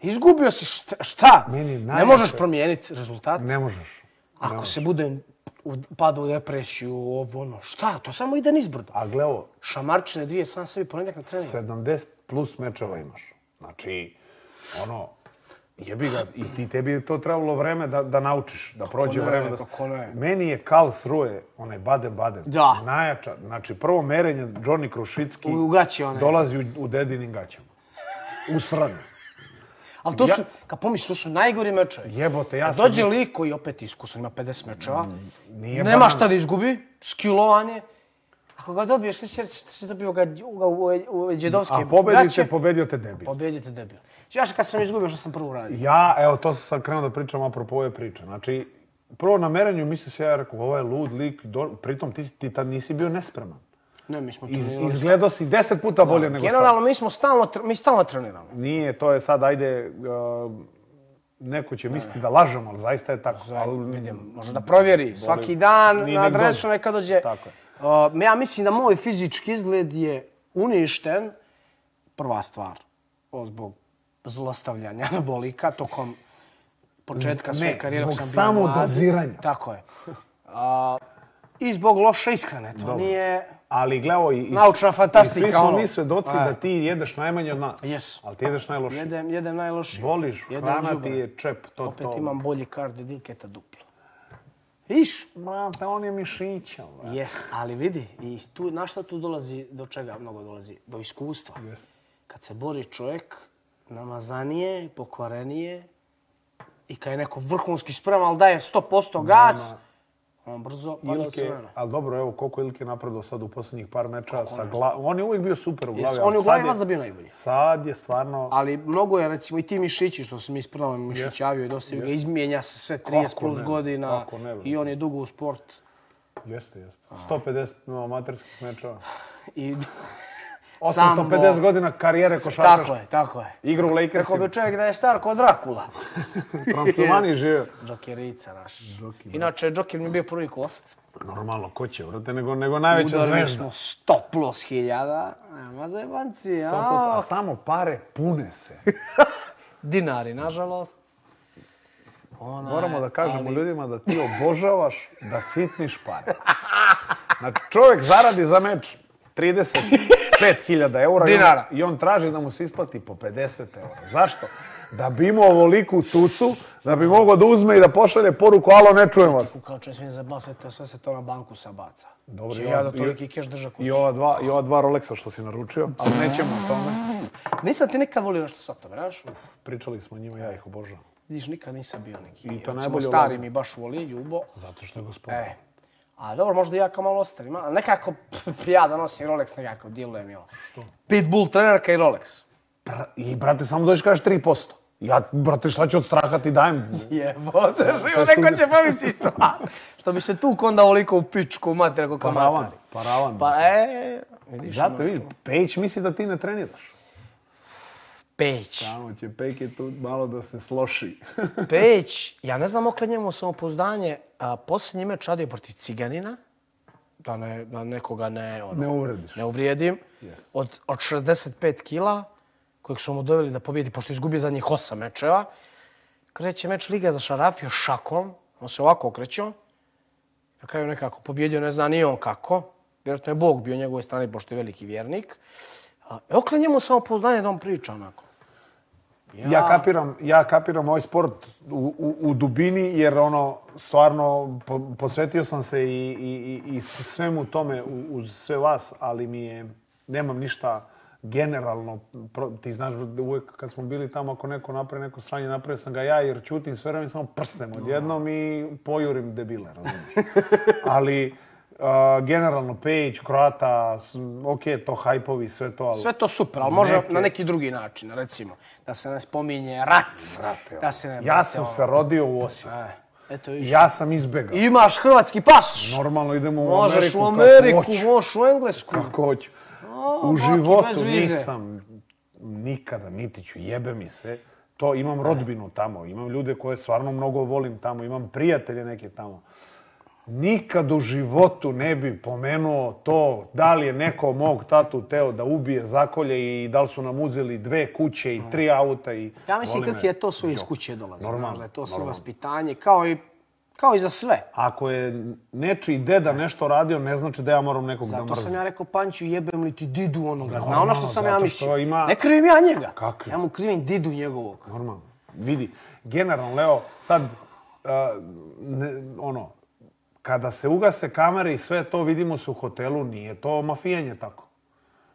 [SPEAKER 1] Izgubio si šta? šta?
[SPEAKER 2] Meni je
[SPEAKER 1] ne
[SPEAKER 2] najjače-
[SPEAKER 1] možeš promijeniti rezultat.
[SPEAKER 2] Ne možeš.
[SPEAKER 1] Ako se budem u- padao u depresiju, ovo ono, šta? To samo ide nizbrdo.
[SPEAKER 2] A gle ovo,
[SPEAKER 1] Šamarčine dvije, sam sebi ponedjeljak na treningu.
[SPEAKER 2] 70 plus mečeva imaš. Znači, ono, Jebi ga, i ti, tebi je to trebalo vreme da, da naučiš, da prođe
[SPEAKER 1] Pa ne,
[SPEAKER 2] vreme. Da... s-
[SPEAKER 1] kako ne.
[SPEAKER 2] Meni je Karlsruhe, onaj Baden-Baden,
[SPEAKER 1] Da.
[SPEAKER 2] najjača. Znači, prvo merenje Johnny Krušicki
[SPEAKER 1] U gaće one.
[SPEAKER 2] dolazi u, u dedinim gaćama. U sranu.
[SPEAKER 1] Ali to
[SPEAKER 2] Ja-
[SPEAKER 1] su, kad pomisliš, to su najgori mečevi.
[SPEAKER 2] Jebote, ja sam...
[SPEAKER 1] Dođe
[SPEAKER 2] mislio- Mm,
[SPEAKER 1] lik koji je opet iskusan, ima 50 mečeva,
[SPEAKER 2] nije
[SPEAKER 1] nema
[SPEAKER 2] banan.
[SPEAKER 1] šta da izgubi, skilovan je. Ako ga dobiješ, šta će reći, šta si dobio ga ga u, u džedovske
[SPEAKER 2] A pobedite, pobedio te debil.
[SPEAKER 1] Pobedite debil. Ja što kad sam izgubio, što sam prvo uradio?
[SPEAKER 2] Ja, evo, to sam sad krenuo da pričam apropo ove priče. Znači, prvo na merenju mislio se ja rekao, ovo je lud lik, do... pritom ti, ti tad nisi bio nespreman.
[SPEAKER 1] Ne, mi smo
[SPEAKER 2] Iz,
[SPEAKER 1] trenirali.
[SPEAKER 2] izgledao si deset puta bolje nego sad.
[SPEAKER 1] Generalno, mi smo stalno, tr- mi stalno treniramo.
[SPEAKER 2] Nije, to je sad, ajde, uh, neko će misliti da lažem, ali zaista je tako.
[SPEAKER 1] Zaista,
[SPEAKER 2] Ali,
[SPEAKER 1] vidim, može da provjeri svaki dan
[SPEAKER 2] ni
[SPEAKER 1] na
[SPEAKER 2] nek dođe.
[SPEAKER 1] adresu neka dođe.
[SPEAKER 2] Tako je.
[SPEAKER 1] Uh, ja mislim da moj fizički izgled je uništen, prva stvar, o, zbog zlostavljanja anabolika tokom početka
[SPEAKER 2] Zbog-
[SPEAKER 1] svoje
[SPEAKER 2] ne,
[SPEAKER 1] karijere. dok
[SPEAKER 2] zbog
[SPEAKER 1] sam bio mlad.
[SPEAKER 2] samodoziranja.
[SPEAKER 1] Tako je. Uh, I zbog loše ishrane. To nije...
[SPEAKER 2] ali gledao i... i-
[SPEAKER 1] Naučna fantastika,
[SPEAKER 2] I svi smo
[SPEAKER 1] ono.
[SPEAKER 2] mi svedoci
[SPEAKER 1] E.
[SPEAKER 2] da ti jedeš najmanje od nas.
[SPEAKER 1] Jesu.
[SPEAKER 2] Ali ti jedeš najlošije.
[SPEAKER 1] Jedem, jedem najlošije.
[SPEAKER 2] Voliš,
[SPEAKER 1] Jedem
[SPEAKER 2] hrana ti
[SPEAKER 1] đubre.
[SPEAKER 2] je čep, to
[SPEAKER 1] Opet
[SPEAKER 2] to.
[SPEAKER 1] imam bolji kard od Dilketa duplo. Viš?
[SPEAKER 2] Brate, on je mišića. brate.
[SPEAKER 1] Jes, ali vidi, i tu, na šta tu dolazi, do čega mnogo dolazi? Do iskustva.
[SPEAKER 2] Jes.
[SPEAKER 1] Kad se bori čovjek, namazanije, pokvarenije, i kad je neko vrhunski spreman, ali daje 100% gas, on brzo pada od
[SPEAKER 2] Ilke,
[SPEAKER 1] crvena.
[SPEAKER 2] ali dobro, evo, koliko je Ilke napredo sad u posljednjih par meča sa gla... On je uvijek bio super u glavi.
[SPEAKER 1] Jes,
[SPEAKER 2] ali
[SPEAKER 1] on je u
[SPEAKER 2] sad
[SPEAKER 1] glavi vas da bio najbolji.
[SPEAKER 2] Sad je stvarno...
[SPEAKER 1] Ali mnogo je, recimo, i ti mišići, što se mi ispravljamo, mišićavio i dosta ga, izmijenja se sve 30
[SPEAKER 2] Kako
[SPEAKER 1] plus
[SPEAKER 2] ne,
[SPEAKER 1] godina
[SPEAKER 2] kako ne, bre.
[SPEAKER 1] i on je dugo u sport.
[SPEAKER 2] Jeste, jeste. 150 no, amaterskih mečeva.
[SPEAKER 1] I... *laughs*
[SPEAKER 2] 850
[SPEAKER 1] Samo-
[SPEAKER 2] godina karijere
[SPEAKER 1] S-
[SPEAKER 2] košarkaša.
[SPEAKER 1] Tako je, tako je.
[SPEAKER 2] Igra u Lakersima.
[SPEAKER 1] Rekao bi čovjek da je star ko Drakula.
[SPEAKER 2] Transilvani žive.
[SPEAKER 1] Džokerica naš. Inače, Džoker mi je bio prvi kost.
[SPEAKER 2] Normalno, ko će, vrate, nego, nego najveća
[SPEAKER 1] Udarili smo
[SPEAKER 2] zvezda.
[SPEAKER 1] 100 plus hiljada. Nema zajebanci,
[SPEAKER 2] A
[SPEAKER 1] a?
[SPEAKER 2] samo pare pune se.
[SPEAKER 1] Dinari, nažalost. Ona
[SPEAKER 2] Moramo da kažemo
[SPEAKER 1] ali-
[SPEAKER 2] ljudima da ti obožavaš da sitniš pare. Znači, čovjek zaradi za meč 35.000 eura i on-
[SPEAKER 1] Dinara.
[SPEAKER 2] i on traži da mu se isplati po 50 eura. Zašto? Da bi imao ovoliku tucu, da bi mogao da uzme i da pošalje poruku alo, ne čujem vas.
[SPEAKER 1] Kao čovjek smijem zabavati, sve to, sve se to na banku sabaca.
[SPEAKER 2] Dobro,
[SPEAKER 1] Znači,
[SPEAKER 2] i
[SPEAKER 1] ja
[SPEAKER 2] on-
[SPEAKER 1] da
[SPEAKER 2] i-
[SPEAKER 1] toliki keš drža kući.
[SPEAKER 2] I ova dva, i ova dva Rolexa što si naručio, ali nećemo o tome.
[SPEAKER 1] Nisam ti nikad volio nešto sa to, veraš?
[SPEAKER 2] Pričali smo o njima, ja ih obožavam.
[SPEAKER 1] Vidiš, nikad nisam bio neki.
[SPEAKER 2] I to
[SPEAKER 1] Recimo,
[SPEAKER 2] najbolje
[SPEAKER 1] stari
[SPEAKER 2] ovako.
[SPEAKER 1] mi baš voli, Ljubo.
[SPEAKER 2] Zato što je gospodin.
[SPEAKER 1] E, a dobro, možda i ja kao malo ostarim, a nekako *laughs* pff, ja da nosim Rolex nekako, djelujem i ovo. Pitbull trenerka i Rolex.
[SPEAKER 2] Bra- I, brate, samo dođeš kažeš 3%. Ja, brate, šta ću od straha ti
[SPEAKER 1] Pa,
[SPEAKER 2] dajem?
[SPEAKER 1] Jebote,
[SPEAKER 2] to
[SPEAKER 1] živo,
[SPEAKER 2] što-
[SPEAKER 1] neko će pomisliti *laughs* stvar. Što bi se tu onda ovoliko u pičku, mater, ako
[SPEAKER 2] Paravan,
[SPEAKER 1] kamatari.
[SPEAKER 2] paravan.
[SPEAKER 1] Pa, e, vidiš,
[SPEAKER 2] Zato, vidiš, Peć misli da ti ne treniraš.
[SPEAKER 1] Peć.
[SPEAKER 2] Samo će Peke tu malo da se sloši. *laughs*
[SPEAKER 1] Peć, ja ne znam okle njemu samopouzdanje, a posljednji meč radio protiv Ciganina, da, ne, da nekoga ne, ono,
[SPEAKER 2] Ne uvrediš.
[SPEAKER 1] ne uvrijedim, od, od 65 kila, kojeg su mu doveli da pobjedi, pošto je izgubio zadnjih 8 mečeva, kreće meč Liga za Šarafiju šakom, on se ovako okrećao, na kraju nekako pobjedio, ne zna ni on kako, vjerojatno je Bog bio njegovoj strani, pošto je veliki vjernik. A, Okle njemu samopouzdanje da on priča onako.
[SPEAKER 2] Ja, kapiram, ja kapiram ovaj sport u, u, u dubini jer ono, stvarno, po- posvetio sam se i, i, i, i svemu tome u- uz sve vas, ali mi je, nemam ništa generalno, pro- ti znaš da uvijek kad smo bili tamo, ako neko napravi neko sranje, napravio sam ga ja jer ćutim sve vreme samo prstem odjednom i pojurim debile,
[SPEAKER 1] *laughs*
[SPEAKER 2] razumiješ? ali a, generalno Page, Kroata, s- ok, to hajpovi, sve to, ali...
[SPEAKER 1] Sve to super, ali može na neki drugi način, recimo. Da se ne spominje rat,
[SPEAKER 2] Brate, ono,
[SPEAKER 1] da se ne...
[SPEAKER 2] ja
[SPEAKER 1] brate,
[SPEAKER 2] sam
[SPEAKER 1] ono,
[SPEAKER 2] se rodio u Osijeku.
[SPEAKER 1] e, Eto, viš.
[SPEAKER 2] Ja sam izbegao.
[SPEAKER 1] Imaš hrvatski pasoš.
[SPEAKER 2] Normalno idemo u
[SPEAKER 1] Možeš
[SPEAKER 2] Ameriku,
[SPEAKER 1] u Ameriku,
[SPEAKER 2] kako hoću.
[SPEAKER 1] možeš u Englesku.
[SPEAKER 2] Kako hoću. u
[SPEAKER 1] baki,
[SPEAKER 2] životu
[SPEAKER 1] bez vize.
[SPEAKER 2] nisam nikada, niti ću, jebe mi se. To,
[SPEAKER 1] E.
[SPEAKER 2] imam rodbinu tamo, imam ljude koje stvarno mnogo volim tamo, imam prijatelje neke tamo. Nikad u životu ne bi pomenuo to da li je neko mog tatu teo da ubije zakolje i da li su nam uzeli dve kuće i tri auta i...
[SPEAKER 1] Ja mislim,
[SPEAKER 2] Voli me.
[SPEAKER 1] Krki, je to sve iz kuće dolazi.
[SPEAKER 2] Normalno,
[SPEAKER 1] Normalno, da je to sve
[SPEAKER 2] normalno.
[SPEAKER 1] vaspitanje, kao i, kao i za sve.
[SPEAKER 2] Ako je nečiji deda nešto radio, ne znači da ja moram nekog da
[SPEAKER 1] Zato
[SPEAKER 2] mrzim.
[SPEAKER 1] sam ja rekao Panću jebem li ti didu onoga. Zna
[SPEAKER 2] Normalno,
[SPEAKER 1] ono što sam
[SPEAKER 2] zato
[SPEAKER 1] ja
[SPEAKER 2] što
[SPEAKER 1] mislio.
[SPEAKER 2] ima-
[SPEAKER 1] Ne krivim ja njega.
[SPEAKER 2] Kakvi?
[SPEAKER 1] Ja mu krivim didu njegovog.
[SPEAKER 2] Normalno. vidi, generalno, Leo, sad, a, ne- ono, kada se ugase kamere i sve to vidimo se u hotelu, nije to mafijanje tako.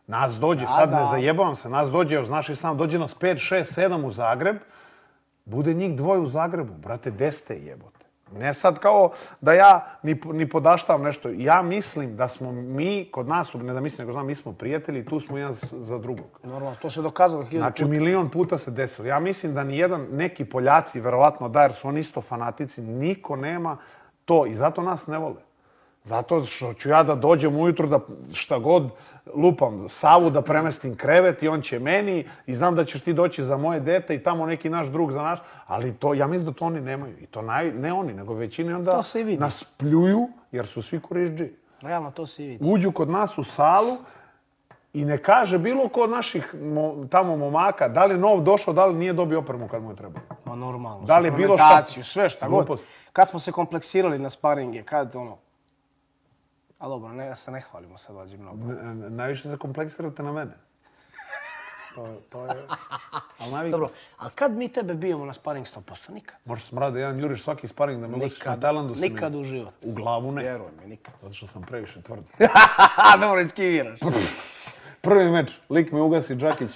[SPEAKER 2] Nas dođe, sad
[SPEAKER 1] da.
[SPEAKER 2] ne zajebavam se, nas dođe, evo, znaš i sam, dođe nas 5, 6, 7 u Zagreb, bude njih dvoje u Zagrebu, brate, gde ste jebote? Ne sad kao da ja ni, ni podaštavam nešto. Ja mislim da smo mi, kod nas, ne da mislim, nego znam, mi smo prijatelji i tu smo jedan s- za drugog.
[SPEAKER 1] Normalno, to se dokazalo hiljadu
[SPEAKER 2] Znači,
[SPEAKER 1] puta.
[SPEAKER 2] milion puta se desilo. Ja mislim da ni jedan, neki Poljaci, verovatno da, jer su oni isto fanatici, niko nema to i zato nas ne vole. Zato što ću ja da dođem ujutru da šta god lupam Savu da premestim krevet i on će meni i znam da ćeš ti doći za moje dete i tamo neki naš drug za naš, ali to, ja mislim da to oni nemaju. I to naj, ne oni, nego većini i onda
[SPEAKER 1] To se i vidi.
[SPEAKER 2] nas pljuju jer su svi korižđi
[SPEAKER 1] Realno, to se i vidi.
[SPEAKER 2] uđu kod nas u salu i ne kaže bilo ko od naših mo- tamo momaka da li je nov došao, da li nije dobio opremu kad mu je trebalo.
[SPEAKER 1] Ma normalno.
[SPEAKER 2] Da li je bilo šta-
[SPEAKER 1] suplementaciju, sve šta god.
[SPEAKER 2] Glupost.
[SPEAKER 1] Kad smo se kompleksirali na sparinge, kad ono... A dobro, ne, ja se ne hvalimo sad vađi mnogo.
[SPEAKER 2] N- n- Najviše se kompleksirate na mene. To, je- to je... Ali navikli
[SPEAKER 1] Dobro,
[SPEAKER 2] ste.
[SPEAKER 1] ali kad mi tebe bijemo na sparing 100%? Nikad.
[SPEAKER 2] Možda sam rade jedan juriš svaki sparing da me ugostiš na
[SPEAKER 1] Nikad.
[SPEAKER 2] Tajlandu. si mi-
[SPEAKER 1] Nikad u život.
[SPEAKER 2] U glavu ne.
[SPEAKER 1] Vjeruj mi, *laughs* nikad.
[SPEAKER 2] Zato što sam previše tvrd. *laughs*
[SPEAKER 1] dobro, iskiviraš.
[SPEAKER 2] Prvi meč, lik mi ugasi Đakić.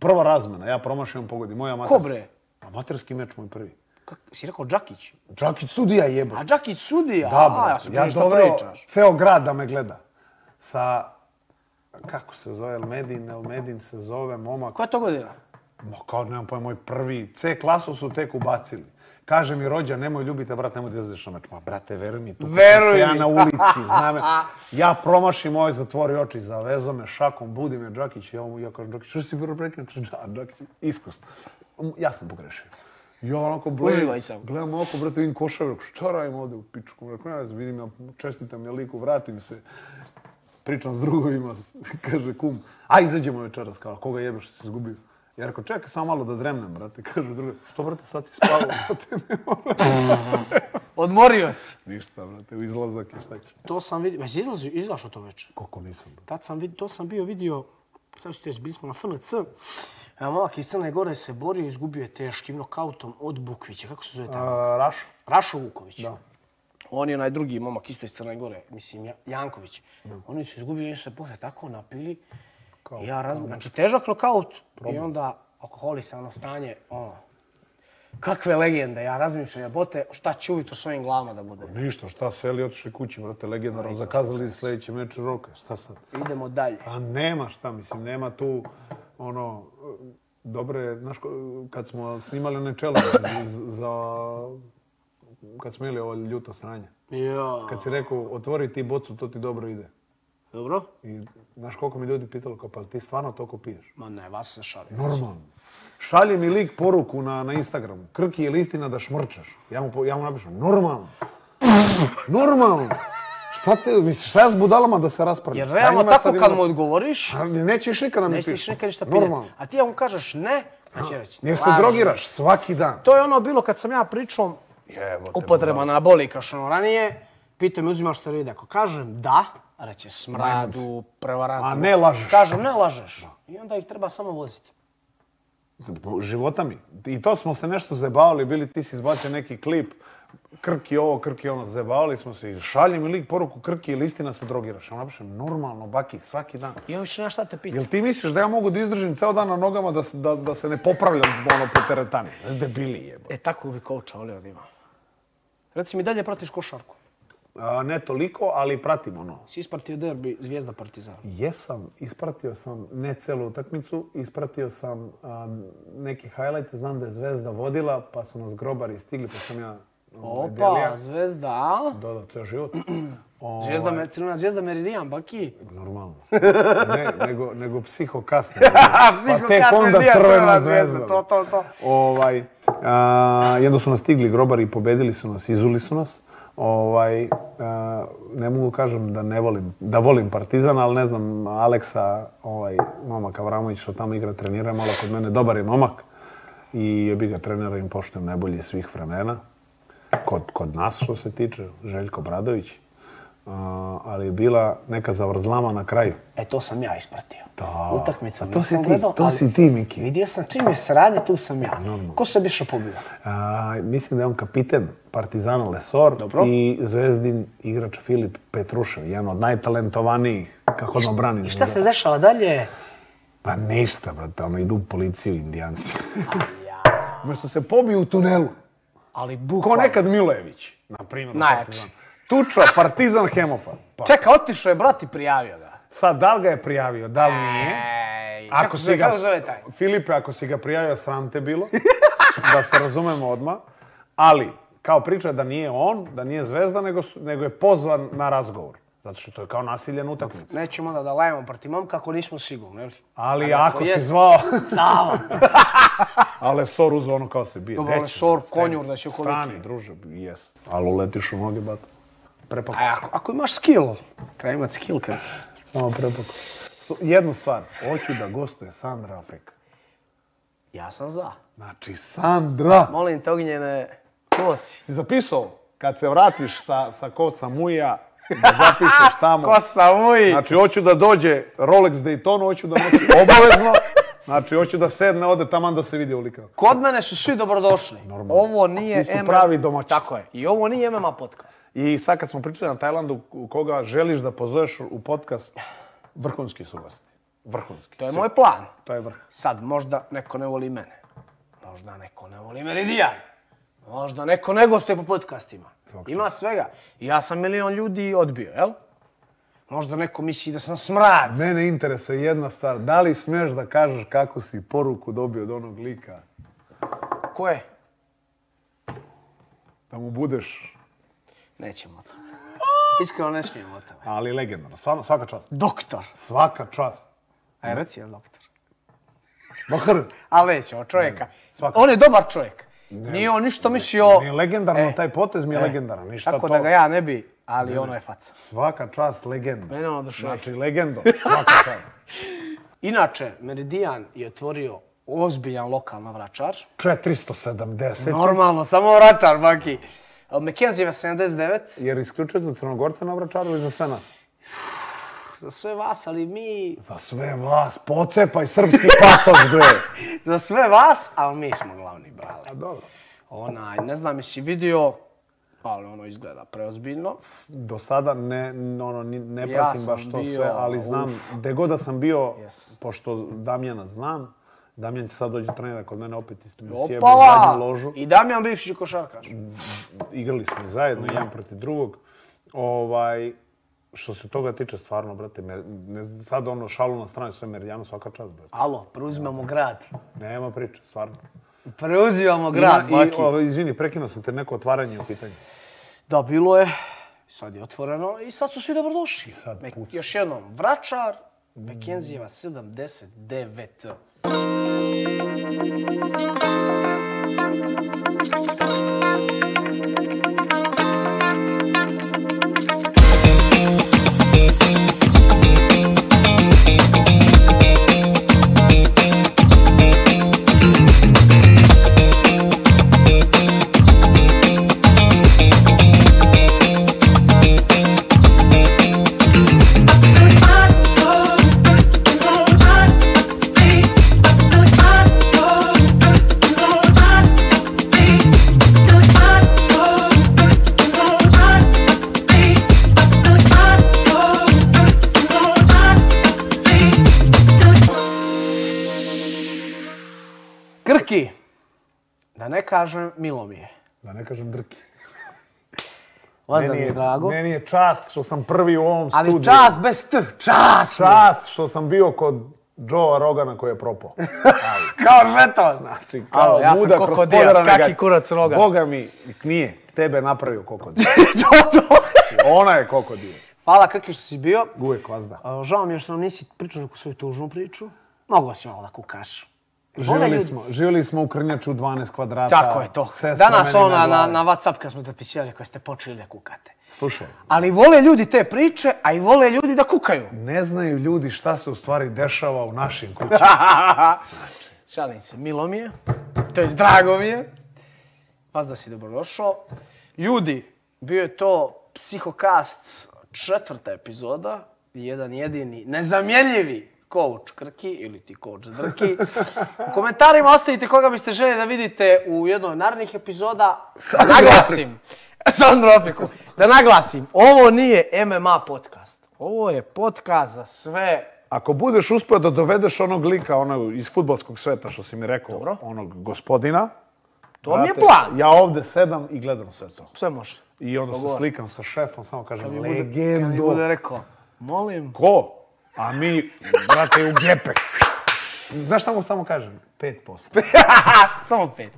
[SPEAKER 2] Prva razmena, ja promašim, on pogodi. Moj amaterski.
[SPEAKER 1] bre?
[SPEAKER 2] Amaterski meč moj prvi.
[SPEAKER 1] Kak, si rekao Đakić?
[SPEAKER 2] Đakić sudija jebo.
[SPEAKER 1] A Đakić sudija?
[SPEAKER 2] Da,
[SPEAKER 1] A,
[SPEAKER 2] brate,
[SPEAKER 1] Pa, ja sam
[SPEAKER 2] ja
[SPEAKER 1] čuo šta
[SPEAKER 2] doveo
[SPEAKER 1] pričaš.
[SPEAKER 2] ceo grad da me gleda. Sa, kako se zove, Elmedin, Elmedin se zove, momak.
[SPEAKER 1] Koja je to godina?
[SPEAKER 2] Ma kao, nemam pojma, moj prvi. C klasu su tek ubacili. Kaže mi rođa, nemoj ljubite, brat, nemoj da izlaziš na meč. Ma, brate, veruj mi, tu
[SPEAKER 1] Veruj
[SPEAKER 2] sam se ja
[SPEAKER 1] mi.
[SPEAKER 2] na ulici, znam me. Ja promašim ovaj, zatvori oči, zavezo me šakom, budi me Đakić, ja, mu- ja kažem, Đakić, što si bilo prekinuo? Kaže, da, Đakić, iskusno. M, Ja sam pogrešio. Ja onako blejim,
[SPEAKER 1] Uživaj sam.
[SPEAKER 2] Gledam oko, brate, vidim košav, rekao, šta radim ovde u pičku? Rekao, ne, znam, vidim, ja čestitam je liku, vratim se. Pričam s drugovima, *laughs* kaže kum, aj izađemo večeras, kao, koga jebeš što si izgubio? Ja rekao, čekaj, samo malo da dremnem, brate. *laughs* Kažu drugovi, što, brate, sad si spavao, brate, *laughs* ne mora.
[SPEAKER 1] Odmorio si.
[SPEAKER 2] Ništa, brate, u izlazak je šta će.
[SPEAKER 1] To sam vidio, već izlazio, izašao to večer.
[SPEAKER 2] Koliko nisam, brate.
[SPEAKER 1] Tad sam vidio, to sam bio vidio, sad ću ti reći, bili smo na FNC, a momak iz Crne Gore se borio i izgubio je teškim nokautom od Bukvića, kako se zove taj?
[SPEAKER 2] A, Rašo?
[SPEAKER 1] Rašo Vuković.
[SPEAKER 2] Da.
[SPEAKER 1] On je onaj drugi momak isto iz Crne Gore, mislim Ja- Janković. Oni su izgubili, oni su se posle tako napili.
[SPEAKER 2] Kao-
[SPEAKER 1] I ja razmišljam, znači težak nokaut i onda alkoholisano stanje, ono, kakve legende, ja razmišljam, jebote, šta će ujutro s ovim glavama da bude.
[SPEAKER 2] Ništa, šta, seli, otišli kući, brate, legendarno, zakazali sljedeći meč roka, šta sad?
[SPEAKER 1] Idemo dalje.
[SPEAKER 2] Pa nema šta, mislim, nema tu ono, e, dobre, znaš, ko- kad smo snimali one čelo za, kad smo imali ovo ljuto sranje.
[SPEAKER 1] Ja.
[SPEAKER 2] Kad si rekao, otvori ti bocu, to ti dobro ide.
[SPEAKER 1] Dobro?
[SPEAKER 2] I znaš koliko mi ljudi pitalo, kao, pa jel ti stvarno toliko piješ?
[SPEAKER 1] Ma ne, vas se šalim.
[SPEAKER 2] Normalno. Šalje mi lik poruku na, na Instagramu. Krki, je li istina da šmrčaš? Ja mu, po- ja mu napišem, normalno. normalno. Šta te, misliš, šta ja s budalama da se raspravljam?
[SPEAKER 1] Jer
[SPEAKER 2] Šta
[SPEAKER 1] realno
[SPEAKER 2] ima sad
[SPEAKER 1] tako
[SPEAKER 2] ima
[SPEAKER 1] kad
[SPEAKER 2] da-
[SPEAKER 1] mu odgovoriš,
[SPEAKER 2] Ali nećeš nikada mi
[SPEAKER 1] nećeš
[SPEAKER 2] piš.
[SPEAKER 1] više nikad ništa pitati.
[SPEAKER 2] Normalno.
[SPEAKER 1] A ti ako kažeš ne, pa će reći.
[SPEAKER 2] Jer se
[SPEAKER 1] "Lažeš."
[SPEAKER 2] drogiraš svaki dan.
[SPEAKER 1] To je ono bilo kad sam ja pričao
[SPEAKER 2] Jebote,
[SPEAKER 1] upotreba anabolika što ono ranije, pitao me uzimaš steroide. Ako kažem da, reće smradu, prevarantu.
[SPEAKER 2] A ne lažeš.
[SPEAKER 1] Kažem ne lažeš. I onda ih treba samo voziti.
[SPEAKER 2] budala. Života mi. I to smo se nešto zebavali, bili ti si izbacio neki klip, krki ovo, krki ono, zebavali smo se i šalje mi lik poruku krki ili istina se drogiraš. Ja mu napišem, normalno, baki, svaki dan.
[SPEAKER 1] I još nešto šta te pitam.
[SPEAKER 2] Jel ti misliš da ja mogu da izdržim ceo dan na nogama da, se- da, da se ne popravljam ono po teretani? Debili jebo.
[SPEAKER 1] E tako bi kouča volio da imam. Reci mi dalje pratiš košarku.
[SPEAKER 2] A, ne toliko, ali pratim ono.
[SPEAKER 1] Si ispratio derbi Zvijezda Partizana.
[SPEAKER 2] Jesam, ispratio sam ne celu utakmicu, ispratio sam a, neki highlights, znam da je Zvezda vodila, pa su nas grobari stigli, pa sam ja ovaj,
[SPEAKER 1] Opa,
[SPEAKER 2] delija,
[SPEAKER 1] Zvezda, a?
[SPEAKER 2] dodao ceo život. O,
[SPEAKER 1] Zvijezda, Me- Crvena Zvijezda Meridijan, baki.
[SPEAKER 2] normalno.
[SPEAKER 1] *laughs*
[SPEAKER 2] Ne, nego, nego psiho kasno.
[SPEAKER 1] Psiho
[SPEAKER 2] pa tek
[SPEAKER 1] kasno,
[SPEAKER 2] onda
[SPEAKER 1] nije
[SPEAKER 2] crvena
[SPEAKER 1] Crvena
[SPEAKER 2] zvezda.
[SPEAKER 1] zvezda, to, to, to.
[SPEAKER 2] Ovaj, a, jedno su nas stigli grobari i pobedili su nas, izuli su nas. Ovaj, a, ne mogu kažem da ne volim, da volim Partizan, ali ne znam, Aleksa, ovaj, momak Avramović što tamo igra, trenira, je malo kod mene dobar je momak. I jebi ga trenera im poštujem najbolje svih vremena. Kod, kod nas što se tiče, Željko Bradović. a, ali je bila neka zavrzlama na kraju.
[SPEAKER 1] E, to sam ja ispratio.
[SPEAKER 2] Da.
[SPEAKER 1] Utakmicu
[SPEAKER 2] A to si
[SPEAKER 1] nisam
[SPEAKER 2] ti,
[SPEAKER 1] gledao,
[SPEAKER 2] to
[SPEAKER 1] ali
[SPEAKER 2] si ti, Miki.
[SPEAKER 1] Vidio sam čim je sranje, tu sam ja. Ko se biše pobio?
[SPEAKER 2] A, mislim da je on kapiten Partizana Lesor
[SPEAKER 1] Dobro.
[SPEAKER 2] i zvezdin igrač Filip Petrušev, jedan od najtalentovanijih kako ono brani.
[SPEAKER 1] I šta se dešava dalje?
[SPEAKER 2] Pa ništa, brate, ono, idu u policiju *laughs* indijanci.
[SPEAKER 1] Ja.
[SPEAKER 2] Umjesto se pobiju u tunelu,
[SPEAKER 1] Ali
[SPEAKER 2] ko
[SPEAKER 1] bukvalno.
[SPEAKER 2] nekad Milojević, na primjer. u
[SPEAKER 1] Najjači.
[SPEAKER 2] Partizanu. Tučo, Partizan Hemofa. Pa,
[SPEAKER 1] Čeka, otišao je brat i prijavio ga.
[SPEAKER 2] sad, da li ga je prijavio, da li nije?
[SPEAKER 1] Ej,
[SPEAKER 2] Ako
[SPEAKER 1] kako
[SPEAKER 2] si
[SPEAKER 1] se
[SPEAKER 2] ga,
[SPEAKER 1] kako zove taj?
[SPEAKER 2] Filipe, ako si ga prijavio, sram te bilo. *laughs* da se razumemo odmah. Ali, kao priča da nije on, da nije zvezda, nego, su- nego je pozvan na razgovor. Zato što to je kao nasiljen utakmica.
[SPEAKER 1] Nećemo onda da lajemo protiv momka ako nismo sigurni, jel?
[SPEAKER 2] Ali
[SPEAKER 1] Ali
[SPEAKER 2] ako
[SPEAKER 1] ako
[SPEAKER 2] si
[SPEAKER 1] jest-
[SPEAKER 2] zvao, *laughs*
[SPEAKER 1] Sava!
[SPEAKER 2] ali Lesor uzeo ono kao se bije.
[SPEAKER 1] Dobro,
[SPEAKER 2] Deće,
[SPEAKER 1] Lesor,
[SPEAKER 2] stani,
[SPEAKER 1] konjur znači, da će ukoliko.
[SPEAKER 2] Stani, druže, jes. Ali uletiš u noge, bat. Prepako.
[SPEAKER 1] A ako, ako imaš skill, treba imat skill kad...
[SPEAKER 2] Samo prepako. Su- Jednu stvar, hoću da gostuje Sandra Afrika.
[SPEAKER 1] Ja sam za.
[SPEAKER 2] Znači, Sandra!
[SPEAKER 1] Molim te ognjene, ko si?
[SPEAKER 2] Si zapisao? Kad se vratiš sa, sa kosa muja, da zapišeš tamo.
[SPEAKER 1] sam uj!
[SPEAKER 2] Znači, hoću da dođe Rolex Daytona, hoću da nosi obavezno. Znači, hoću da sedne, ode taman da se vidi ulika.
[SPEAKER 1] Kod mene su svi dobrodošli.
[SPEAKER 2] Normalno.
[SPEAKER 1] Ovo nije
[SPEAKER 2] Ti si pravi domaćin.
[SPEAKER 1] Tako je. I ovo nije MMA podcast.
[SPEAKER 2] I sad kad smo pričali na Tajlandu, u koga želiš da pozoveš u podcast, vrhunski su gosti. Vrhunski.
[SPEAKER 1] To je
[SPEAKER 2] Svi.
[SPEAKER 1] moj plan.
[SPEAKER 2] To je vrh.
[SPEAKER 1] Sad, možda neko ne voli mene. Možda neko ne voli Meridijan. Možda neko ne gostuje po podcastima.
[SPEAKER 2] Svaka
[SPEAKER 1] Ima svega. Ja sam milion ljudi odbio, jel? Možda neko misli da sam smrad.
[SPEAKER 2] Mene interesuje jedna stvar. Da li smeš da kažeš kakvu si poruku dobio od onog lika?
[SPEAKER 1] Ko je?
[SPEAKER 2] Da mu budeš,
[SPEAKER 1] Nećemo o tome. Iskreno ne smijemo o tome.
[SPEAKER 2] ali legendarno. Stvarno, svaka čast.
[SPEAKER 1] Doktor.
[SPEAKER 2] Svaka čast.
[SPEAKER 1] Aj, reci je doktor.
[SPEAKER 2] Bahr.
[SPEAKER 1] Ali nećemo, čovjeka.
[SPEAKER 2] svakako.
[SPEAKER 1] On je dobar čovjek. Nije on ništa mislio...
[SPEAKER 2] Mi je legendarno,
[SPEAKER 1] E,
[SPEAKER 2] taj potez mi je
[SPEAKER 1] e,
[SPEAKER 2] legendaran. Ništa
[SPEAKER 1] Tako
[SPEAKER 2] to.
[SPEAKER 1] da ga ja ne bi, ali ono je faca.
[SPEAKER 2] Svaka čast legenda.
[SPEAKER 1] Mene ono oduševljava.
[SPEAKER 2] Znači, legendo. Svaka
[SPEAKER 1] *laughs*
[SPEAKER 2] čast.
[SPEAKER 1] Inače, Meridian je otvorio ozbiljan lokalna
[SPEAKER 2] *laughs*
[SPEAKER 1] vračar.
[SPEAKER 2] 470.
[SPEAKER 1] Normalno, samo vračar, baki. McKenzie 79,
[SPEAKER 2] Jer isključio za Crnogorce na Vračaru i za sve nas.
[SPEAKER 1] za sve vas, ali mi...
[SPEAKER 2] Za sve vas, pocepaj srpski pasoš,
[SPEAKER 1] *laughs*
[SPEAKER 2] bre.
[SPEAKER 1] Za sve vas, ali mi smo glavni brale.
[SPEAKER 2] A dobro.
[SPEAKER 1] Onaj, ne znam jesi vidio, ali ono izgleda preozbiljno.
[SPEAKER 2] Do sada ne, n- ono, ni- ne
[SPEAKER 1] Ja
[SPEAKER 2] pratim
[SPEAKER 1] sam
[SPEAKER 2] baš to
[SPEAKER 1] bio,
[SPEAKER 2] sve, ali
[SPEAKER 1] uf.
[SPEAKER 2] znam, gde god da sam bio,
[SPEAKER 1] Yes.
[SPEAKER 2] pošto Damjana znam, Damjan će sad dođe trenira kod mene opet isto mi sjebe u zadnju
[SPEAKER 1] Opala!
[SPEAKER 2] ložu.
[SPEAKER 1] I Damjan bivši košarkaš.
[SPEAKER 2] igrali smo i zajedno, jedan protiv drugog. Ovaj, što se toga tiče, stvarno, brate, mer- ne, sad ono šalu na stranu, sve Meridijanu svaka čast, brate.
[SPEAKER 1] Alo, preuzimamo grad.
[SPEAKER 2] Nema priče, stvarno.
[SPEAKER 1] Preuzimamo grad,
[SPEAKER 2] Ima- i,
[SPEAKER 1] baki.
[SPEAKER 2] ovaj, izvini, prekinuo sam te neko otvaranje u pitanju.
[SPEAKER 1] Da, bilo je. Sad je otvoreno i sad su svi dobrodošli.
[SPEAKER 2] sad
[SPEAKER 1] Mek-
[SPEAKER 2] puca.
[SPEAKER 1] Još jednom, Vračar, Mekenzijeva 79. Grki, da ne kažem, milo mi je.
[SPEAKER 2] Da ne kažem drki.
[SPEAKER 1] Vas da mi je drago.
[SPEAKER 2] Meni je čast što sam prvi u ovom
[SPEAKER 1] Ali
[SPEAKER 2] studiju.
[SPEAKER 1] čast bez t, čast! mi je.
[SPEAKER 2] Čast što sam bio kod Joe Rogana koji je
[SPEAKER 1] *laughs*
[SPEAKER 2] propao.
[SPEAKER 1] Kao žeton!
[SPEAKER 2] Znači,
[SPEAKER 1] Alo,
[SPEAKER 2] kao
[SPEAKER 1] ja sam
[SPEAKER 2] muda
[SPEAKER 1] Koko
[SPEAKER 2] kroz
[SPEAKER 1] Diaz,
[SPEAKER 2] podarane
[SPEAKER 1] kaki
[SPEAKER 2] gaće.
[SPEAKER 1] kurac Rogan.
[SPEAKER 2] Boga mi, nije. Tebe je napravio kokodil.
[SPEAKER 1] to, to.
[SPEAKER 2] Ona je kokodil.
[SPEAKER 1] *laughs* Hvala Krki što si bio.
[SPEAKER 2] Uvijek vas da.
[SPEAKER 1] A, Žao mi je što nam nisi pričao neku svoju tužnu priču. Mogao si malo da kukaš. Vole
[SPEAKER 2] Živjeli
[SPEAKER 1] ljudi.
[SPEAKER 2] smo, živjeli smo u Krnjaču 12 kvadrata.
[SPEAKER 1] Tako je to.
[SPEAKER 2] Sestra
[SPEAKER 1] Danas
[SPEAKER 2] meni
[SPEAKER 1] ona na,
[SPEAKER 2] glavi.
[SPEAKER 1] na Whatsapp kad smo zapisivali koje ste počeli da kukate.
[SPEAKER 2] Slušaj,
[SPEAKER 1] Ali vole ljudi te priče, a i vole ljudi da kukaju.
[SPEAKER 2] ne znaju ljudi šta se u stvari dešava u našim kućama.
[SPEAKER 1] *laughs* Šalim se, milo mi je, to jest drago mi je. Vas da si dobrodošao. Ljudi, bio je to Psihokast četvrta epizoda, jedan jedini, nezamjenjivi coach Krki ili ti coach Drki. U komentarima ostavite koga biste željeli da vidite u jednoj od narednih epizoda. Da naglasim, Sandro Afiku, da naglasim, ovo nije MMA podcast. Ovo je podcast za sve
[SPEAKER 2] Ako budeš uspio da dovedeš onog lika onog iz futbolskog sveta, što si mi rekao,
[SPEAKER 1] Dobro.
[SPEAKER 2] onog gospodina...
[SPEAKER 1] To mi je
[SPEAKER 2] brate,
[SPEAKER 1] plan.
[SPEAKER 2] Ja ovdje sedam i gledam sve to.
[SPEAKER 1] Sve može.
[SPEAKER 2] I onda se
[SPEAKER 1] Dogovor.
[SPEAKER 2] slikam sa šefom, samo kažem,
[SPEAKER 1] Bude- kad mi
[SPEAKER 2] legendo.
[SPEAKER 1] bude rekao, molim.
[SPEAKER 2] Ko? A mi, brate, u gepe. Znaš šta mu samo kažem? 5%.
[SPEAKER 1] Samo pet.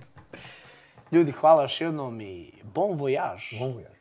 [SPEAKER 1] Ljudi, hvala još jednom i bon voyage.
[SPEAKER 2] Mogu ja.